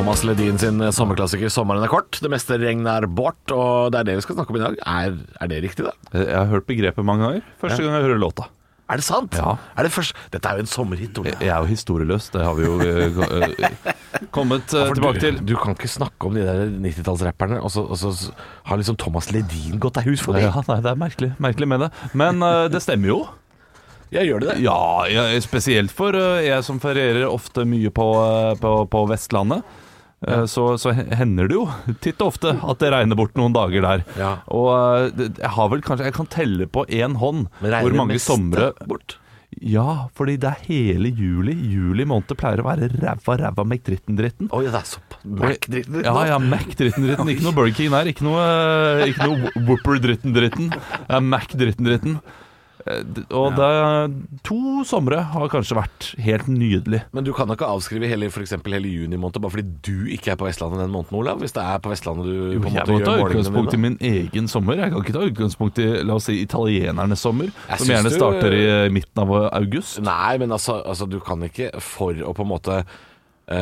Speaker 5: Thomas Ledin sin eh, sommerklassiker 'Sommeren er kort'. Det meste regner bort, og det er det vi skal snakke om i dag. Er, er det riktig, da?
Speaker 6: Eh, Jeg har hørt begrepet mange ganger. Første gang jeg hører låta.
Speaker 5: Er det sant?
Speaker 6: Ja. Eh,
Speaker 5: Er det først? Dette er jo en sommerhit, Ole.
Speaker 6: Jeg jeg er jo historieløs, det har vi jo eh, ko- eh, kommet eh,
Speaker 5: For du,
Speaker 6: tilbake til.
Speaker 5: du kan ikke snakke om de der 90-tallsrapperne, og, så- og så s- har liksom Thomas Ledin gått deg hus forbi.
Speaker 6: Ja, nei, det er merkelig, merkelig med det. Men eh, det stemmer jo.
Speaker 5: Jeg gjør det, det.
Speaker 6: Ja, jeg, spesielt for eh, jeg som ferierer ofte mye på, eh, på, på Vestlandet. eh, Så, så hender det jo titt og ofte at det regner bort noen dager der.
Speaker 5: Ja.
Speaker 6: Og eh, det- jeg har vel kanskje Jeg kan telle på én hånd
Speaker 5: Men regner
Speaker 6: hvor mange
Speaker 5: meste
Speaker 6: somre
Speaker 5: bort?
Speaker 6: Ja, fordi det er hele juli. Juli måned pleier å være ræva, ræva McDritten-dritten.
Speaker 5: Oi, det er såpass. Mac-dritten-dritten,
Speaker 6: Ja,
Speaker 5: da.
Speaker 6: ja, Mac-dritten-dritten. Ikke noe Burger King der. Ikke noe, eh, ikke noe Whopper-dritten-dritten. Det er Mac-dritten-dritten. Eh, d- Og det er to somre har kanskje vært helt nydelig.
Speaker 5: Men du kan da ikke avskrive hele, for eksempel hele juni måned bare fordi du ikke er på Vestlandet den måneden, Olav? Hvis det er på Vestlandet du
Speaker 6: Jo,
Speaker 5: på en
Speaker 6: jeg
Speaker 5: måte
Speaker 6: må ta
Speaker 5: gjør
Speaker 6: utgangspunkt i
Speaker 5: målingene dine?
Speaker 6: min egen sommer. Jeg kan ikke ta utgangspunkt i la oss si, italienernes sommer,
Speaker 5: Jeg
Speaker 6: som
Speaker 5: syns
Speaker 6: gjerne
Speaker 5: du-
Speaker 6: starter i eh, midten av august.
Speaker 5: Nei, men altså, altså, du kan ikke for å på en måte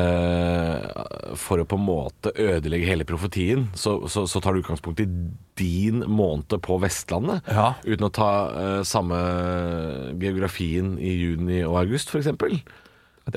Speaker 5: eh, For å på en måte ødelegge hele profetien, så, så, så tar du utgangspunkt i din måned på Vestlandet.
Speaker 6: Ja.
Speaker 5: Uten å ta eh, samme geografien i juni og august, f.eks. Det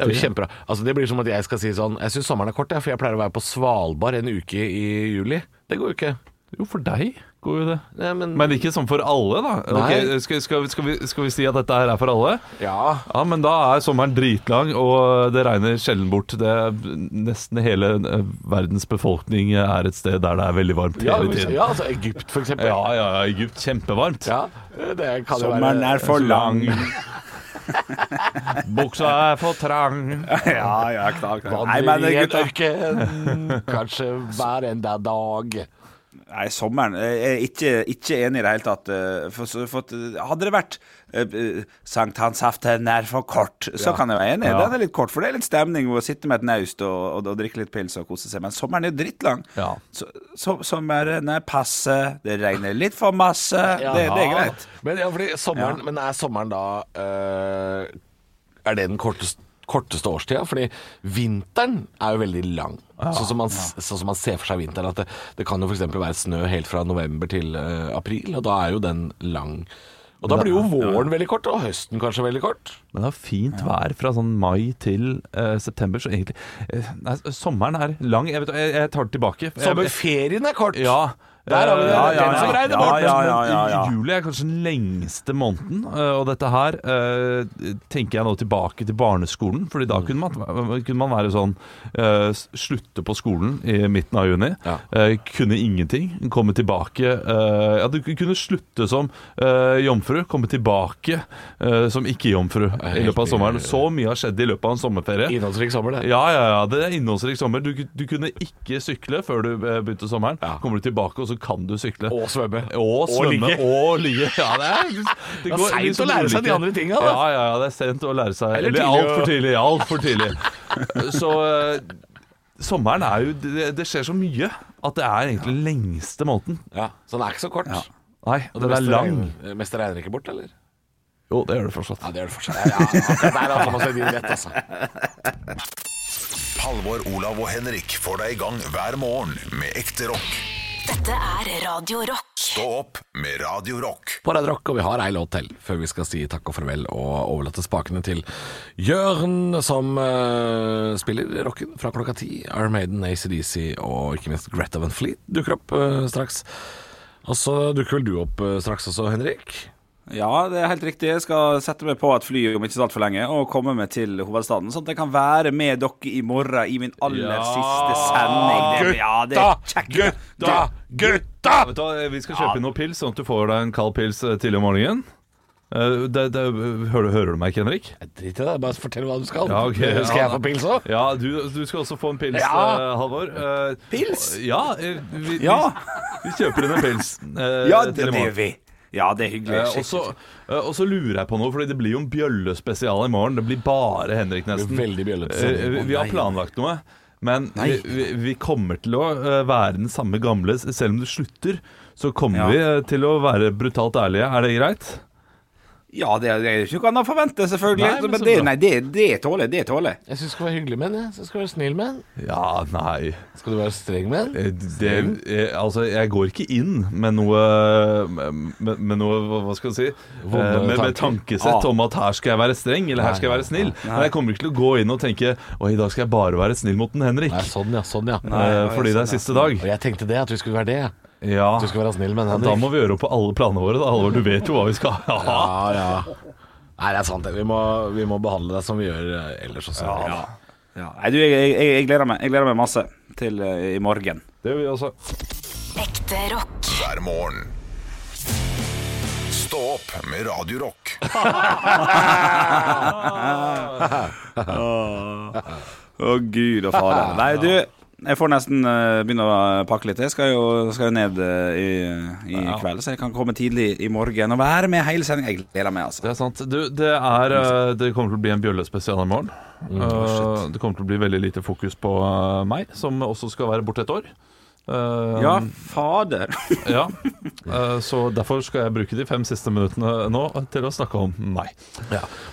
Speaker 5: er jo
Speaker 6: Det-
Speaker 5: kjempebra. Altså, det blir som at jeg skal si sånn Jeg syns sommeren er kort, jeg, for jeg pleier å være på Svalbard en uke i juli. Det går jo ikke.
Speaker 6: Jo, for deg går jo det.
Speaker 5: Nei, men,
Speaker 6: Men ikke sånn for alle, da.
Speaker 5: Nei.
Speaker 6: Ok, skal, skal, skal, vi, skal vi si at dette her er for alle?
Speaker 5: Ja.
Speaker 6: Ja, men da er sommeren dritlang, og det regner sjelden bort. Det er nesten hele eh, verdens befolkning er et sted der det er veldig varmt
Speaker 5: Ja,
Speaker 6: hele
Speaker 5: hvis-
Speaker 6: tiden.
Speaker 5: ja, altså Egypt, for eksempel.
Speaker 6: ja, ja, ja, Egypt. Kjempevarmt.
Speaker 5: Ja, det kan jo
Speaker 4: Sommeren
Speaker 5: være
Speaker 4: er
Speaker 6: Altså,
Speaker 4: for lang.
Speaker 6: Buksa er for trang.
Speaker 4: Ja, ja, klar, klar. Nei, men
Speaker 5: Vandring i en
Speaker 4: gutta
Speaker 5: ørken, kanskje hver enda dag.
Speaker 4: Nei, sommeren eh, Jeg er ikke, ikke enig i det hele tatt. eh, For, så- for, at, eh, hadde det vært eh, eh, sankthansaften er for kort, så kan jeg være enig. Den er litt kort, for det er litt stemning å sitte med et naust og, og, og drikke litt pils og kose seg. Men sommeren er jo drittlang.
Speaker 6: Ja.
Speaker 4: Så, så, sommeren er passe, det regner litt for masse. Det, det er greit.
Speaker 5: Men, ja, fordi sommeren,
Speaker 4: Ja.
Speaker 5: men er sommeren da eh, Er det den korteste, korteste årstida? Fordi vinteren er jo veldig lang. sånn, som man, s- sånn som man ser for seg vinteren. At det, det kan jo f.eks. være snø helt fra november til eh, april, og da er jo den lang. Og da blir jo våren veldig kort, og høsten kanskje veldig kort.
Speaker 6: Men det er fint vær fra sånn mai til eh, september, så egentlig eh, Nei, sommeren er lang. Jeg, vet, jeg, jeg tar det tilbake. Jeg-
Speaker 5: Sommerferien er kort!
Speaker 6: Ja.
Speaker 5: Der har vi det.
Speaker 6: Ja, ja,
Speaker 5: Den som
Speaker 6: ja.
Speaker 5: regner
Speaker 6: Ja,
Speaker 5: bort.
Speaker 6: ja, ja,
Speaker 4: Men-
Speaker 6: ja,
Speaker 4: ja.
Speaker 6: Juli er kanskje den lengste måneden, eh, og dette her eh, tenker jeg nå tilbake til barneskolen. Fordi da kunne man, kunne man være sånn eh, s- Slutte på skolen i midten av juni.
Speaker 5: Ja.
Speaker 6: eh, kunne ingenting. Komme tilbake eh, Ja, du kunne slutte som eh, jomfru. Komme tilbake eh, som ikke-jomfru i løpet av sommeren. Så mye har skjedd i løpet av en sommerferie.
Speaker 5: Innholdsrik sommer, det.
Speaker 6: Ja, ja, ja, det er innholdsrik sommer. Du, du kunne ikke sykle før du eh, begynte sommeren.
Speaker 5: Ja.
Speaker 6: Kommer du tilbake, og så kan du sykle.
Speaker 5: Og svømme.
Speaker 6: Og svømme.
Speaker 5: ligge.
Speaker 6: Og ligge. Ja, det er,
Speaker 5: er
Speaker 6: går
Speaker 5: sent
Speaker 6: litt
Speaker 5: å lære seg de
Speaker 6: ulike-
Speaker 5: andre tinga, da.
Speaker 6: Ja, ja, ja, det er sent å lære seg.
Speaker 5: Eller
Speaker 6: Eller
Speaker 5: tidlig å-
Speaker 6: altfor tidlig. Altfor tidlig. Så eh, sommeren er jo det, det skjer så mye at det er egentlig lengste måneden.
Speaker 5: Ja, så den er ikke så kort.
Speaker 6: Nei,
Speaker 5: Og
Speaker 6: den
Speaker 5: meste
Speaker 6: er lang.
Speaker 5: Regner, meste regner ikke bort, eller?
Speaker 6: Jo, det gjør det fortsatt.
Speaker 5: Ja, det gjør det fortsatt. Ja, ja, akkurat der har Thomas Hedin rett, altså.
Speaker 1: Halvor, Olav og Henrik får deg i gang hver morgen med ekte rock.
Speaker 2: Dette er Radio Rock.
Speaker 1: Stå opp med Radio Rock.
Speaker 5: På Radio Rock, og vi har ei låt til før vi skal si takk og farvel og overlate spakene til Jørn, som eh, spiller rocken fra klokka ti. Iron Maiden, ACDC og ikke minst Greta Van Fleet dukker opp eh, straks. Og så dukker vel du opp eh, straks også, Henrik?
Speaker 4: Ja, det er helt riktig. Jeg skal sette meg på et fly om ikke så altfor lenge og komme meg til hovedstaden, sånn at jeg kan være med dere i morgen i min aller siste sending. Det, ja, det er kjekt.
Speaker 6: Gutta! Gutta! Vet du, hva, eh, vi skal kjøpe inn noen pils, sånn at du får deg en kald pils eh, tidlig om morgenen. Eh, det, det, hører, hører du meg ikke, Henrik?
Speaker 5: Drit i det, bare fortell hva du skal.
Speaker 6: Ja, ok.
Speaker 5: Skal jeg
Speaker 6: Ja.
Speaker 5: få pils òg?
Speaker 6: Ja, du, du skal også få en pils,
Speaker 5: Ja.
Speaker 6: eh, Halvor. Eh,
Speaker 4: Pils?
Speaker 6: Ja, eh, vi,
Speaker 4: Ja.
Speaker 6: Vi, vi kjøper inn en pils. eh,
Speaker 4: Ja,
Speaker 6: til i
Speaker 4: det, det
Speaker 6: morgen.
Speaker 4: gjør vi. Ja, det er hyggelig.
Speaker 6: Eh, og
Speaker 4: Skikkelig.
Speaker 6: så eh, og så lurer jeg på noe, Fordi det blir jo en bjøllespesial i morgen. Det blir bare Henrik, nesten.
Speaker 5: Veldig bjøllete
Speaker 6: Eh,
Speaker 5: sending.
Speaker 6: vi, vi har planlagt noe, men vi, vi, vi kommer til å eh, være den samme gamle. s- Selv om du slutter, så kommer
Speaker 4: Ja.
Speaker 6: vi eh, til å være brutalt ærlige. Er det greit?
Speaker 4: Ja, det er det er jo ikke noe annet å forvente, selvfølgelig.
Speaker 6: Nei, men
Speaker 4: men
Speaker 6: så
Speaker 4: det,
Speaker 6: bra.
Speaker 4: nei, det, det tåler jeg. Det tåler jeg.
Speaker 5: Jeg syns du skal være hyggelig med den. Jeg synes du skal være snill med den.
Speaker 6: Ja, nei
Speaker 5: Skal du være streng med den?
Speaker 6: Eh, det, eh, Altså, jeg går ikke inn med noe eh, Med, med noe, hva- hva skal jeg si Eh,
Speaker 5: Vonde
Speaker 6: med, med
Speaker 5: tanker.
Speaker 6: tankesett om at her skal jeg være streng, eller her skal jeg være snill. Men jeg kommer ikke til å gå inn og tenke Å, i dag skal jeg bare være snill mot den Henrik.
Speaker 5: Nei, sånn ja, sånn ja.
Speaker 6: Eh, fordi det er siste dag.
Speaker 5: Og jeg tenkte det, at du skulle være det.
Speaker 6: Ja.
Speaker 5: At du skulle være snill med den.
Speaker 6: Da må vi gjøre opp på alle planene våre. Da. Halvor, du vet jo hva vi skal ha.
Speaker 5: Ja, ja. Nei, det er sant. det. Vi må, vi må behandle deg som vi gjør eh, ellers også. Ja.
Speaker 4: Ja. Nei, du, jeg, jeg, jeg, jeg gleder meg Jeg gleder meg masse til eh, i morgen.
Speaker 6: Det gjør vi også.
Speaker 2: Ekte rock.
Speaker 1: hver morgen. Stå opp opp med Radio Rock.
Speaker 4: Å, gud og fader. Nei, du, jeg får nesten eh, begynne å pakke litt. Jeg skal jo, skal jo ned eh, i, i kveld, så jeg kan komme tidlig i morgen og være med hele sendinga. Jeg gleder meg, altså.
Speaker 6: Det er sant. Du, det, er, eh, det kommer til å bli en bjøllespesial i morgen. Eh, det kommer til å bli veldig lite fokus på eh, meg, som også skal være borte et år. Eh,
Speaker 4: Ja, fader.
Speaker 6: ja. Eh, så derfor skal jeg bruke de fem siste minuttene nå til å snakke om meg.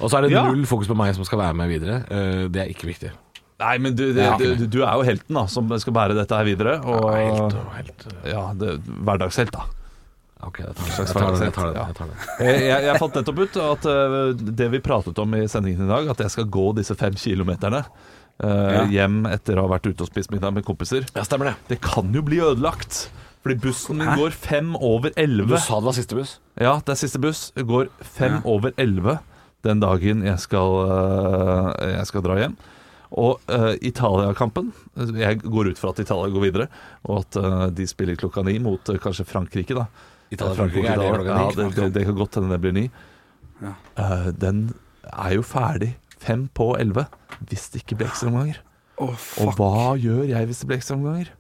Speaker 5: Og så er det
Speaker 6: Ja.
Speaker 5: null fokus på meg som skal være med videre. Eh, Det er ikke viktig.
Speaker 6: Nei, men du, du, du, du er jo helten da, som skal bære dette her videre. Og,
Speaker 5: Ja, helt, helt.
Speaker 6: ja, det, hverdagshelt, da.
Speaker 5: Ok, jeg tar det. Jeg tar det, jeg tar det, jeg tar det.
Speaker 6: Jeg, jeg, jeg fant nettopp ut at eh, det vi pratet om i sendingen i dag, at jeg skal gå disse fem kilometerne eh, hjem etter å ha vært ute og spist middag med kompiser,
Speaker 5: Ja, stemmer det.
Speaker 6: det kan jo bli ødelagt. Fordi bussen min går fem over
Speaker 5: Du
Speaker 6: elleve.
Speaker 5: sa det var siste buss.
Speaker 6: Ja, det er siste buss. Går fem over elleve den dagen jeg skal, eh, jeg skal dra hjem. Og uh, Italia-kampen Jeg går ut fra at Italia går videre, og at eh, de spiller klokka ni mot eh, kanskje Frankrike, da. Eh,
Speaker 5: Italia-Frankrike, er det klokka ni?
Speaker 6: Ja, det, det, det kan godt hende det blir ni. Eh, den er jo ferdig fem på elleve hvis det ikke blir ekstraomganger.
Speaker 4: Å,
Speaker 6: Og
Speaker 4: fuck.
Speaker 6: hva gjør jeg hvis det blir ekstraomganger?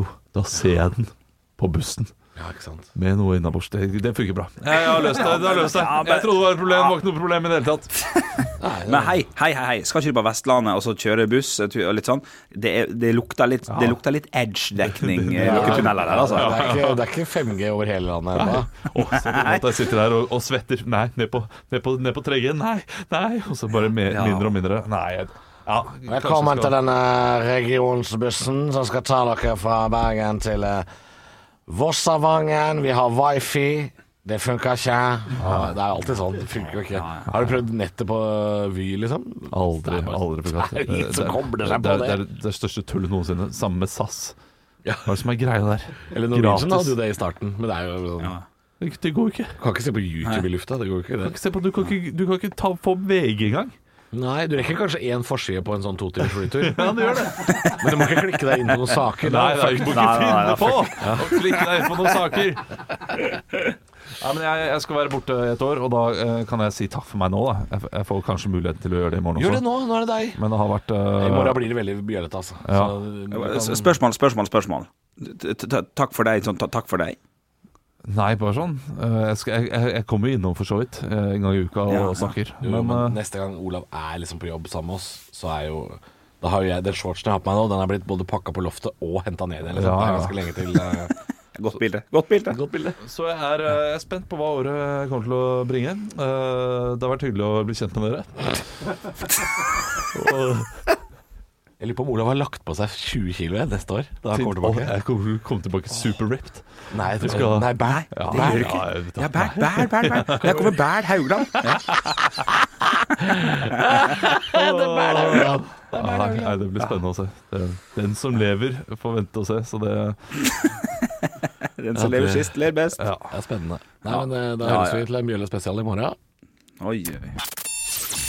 Speaker 6: Jo, da ser jeg den på bussen.
Speaker 5: Ja, ikke sant.
Speaker 6: Med noe innabords. Det, det funker bra. Jeg har løst det. det har løst det. Jeg trodde det var et problem, det var ikke noe problem i det hele tatt.
Speaker 4: Men hei, hei, hei, hei. skal ikke du på Vestlandet og så kjøre buss eh, tu- og litt sånn? Det, er- det lukter litt, det lukter litt edge-dekning i noen tunneler der, altså.
Speaker 5: Det er, ikke, det er ikke 5G over hele landet ennå.
Speaker 6: Og så på en måte jeg sitter der og, og svetter. Nei, ned på, ned på, ned på treggen. Nei, nei. Og så bare mer, mindre og mindre. Nei. jeg- Ja, kanskje
Speaker 5: Velkommen til
Speaker 6: skal-
Speaker 5: denne regionsbussen som skal ta dere fra Bergen til eh, Vossavangen. Vi har wifi. Det funker ikke. Ja, Det er alltid sånn. Det funker jo ikke. Har du prøvd nettet på Vy, liksom?
Speaker 6: Aldri.
Speaker 5: Det er bare-
Speaker 6: aldri
Speaker 5: Det er jo ingen som kobler seg
Speaker 6: det,
Speaker 5: på
Speaker 6: er, det,
Speaker 5: det.
Speaker 6: er, det er det største tullet noensinne. Sammen med SAS. Hva er det som er greia der?
Speaker 5: Eller Norwegian hadde jo det i starten, men det er jo sånn
Speaker 6: Det det går jo ikke.
Speaker 5: Du kan ikke se på YouTube i lufta. Det går jo ikke, det.
Speaker 6: Se på, du kan ikke, du kan ikke ta, få VG engang.
Speaker 5: Nei, du rekker kanskje én forside på en sånn to timers flytur. ja, du gjør det. Men du må ikke klikke deg inn på noen saker.
Speaker 6: Nei,
Speaker 5: da.
Speaker 6: det er ikke
Speaker 4: Nei, nei, nei,
Speaker 6: finne på å klikke deg inn på noen saker. Nei, men jeg, jeg skal være borte et år, og da eh, kan jeg si takk for meg nå. Da. Jeg, jeg får kanskje muligheten til å gjøre det i morgen
Speaker 5: Gjør
Speaker 6: også.
Speaker 5: det nå. Nå er det deg.
Speaker 6: Men det har vært eh,
Speaker 5: I morgen blir det veldig bjøllete, altså.
Speaker 6: Ja.
Speaker 5: Så du
Speaker 4: S-
Speaker 5: kan-
Speaker 4: Spørsmål, spørsmål, spørsmål. T- t- t- Takk for deg. Sånn, ta- takk for deg.
Speaker 6: Nei, bare sånn. Eh, jeg, skal, jeg- jeg, jeg kommer jo innom for så vidt eh, en gang i uka og,
Speaker 4: Ja.
Speaker 6: snakker.
Speaker 5: Jo,
Speaker 6: Men,
Speaker 5: men,
Speaker 6: eh,
Speaker 5: neste gang Olav er liksom på jobb sammen med oss, så er jo da har jo jeg, Den shortsen jeg har på meg nå, den er blitt både pakka på loftet og henta ned igjen. Liksom.
Speaker 6: Ja,
Speaker 5: Det er
Speaker 6: ja.
Speaker 5: ganske lenge til eh,
Speaker 4: Godt bilde. Godt bilde.
Speaker 5: godt bilde.
Speaker 6: så jeg er, eh, jeg er spent på hva året kommer til å bringe. Eh, det har vært hyggelig å bli kjent med dere. og,
Speaker 5: Jeg lurer på om Olav har lagt på seg 20 kilo igjen neste år. Da han kommer
Speaker 6: og
Speaker 5: tilbake.
Speaker 6: jeg kommer til å komme tilbake super ripped.
Speaker 5: Nei, jeg tror-
Speaker 6: skal-
Speaker 5: nei, bæ.
Speaker 6: Ja,
Speaker 5: Bæ.
Speaker 6: ja, jeg vet det.
Speaker 4: Ja, Bernt, Bernt, Bernt. Bernt. Der kommer Bernt Haugland.
Speaker 6: Nei, nei, det blir spennende å se. Det, den som lever, får vente og se. Så det
Speaker 4: Den som lever sist, ler best.
Speaker 6: ja.
Speaker 5: Det er spennende. Nei, men eh, Da
Speaker 4: Ja,
Speaker 5: høres
Speaker 4: ja.
Speaker 5: vi til en Mjølle spesial i morgen.
Speaker 4: Oi, oi.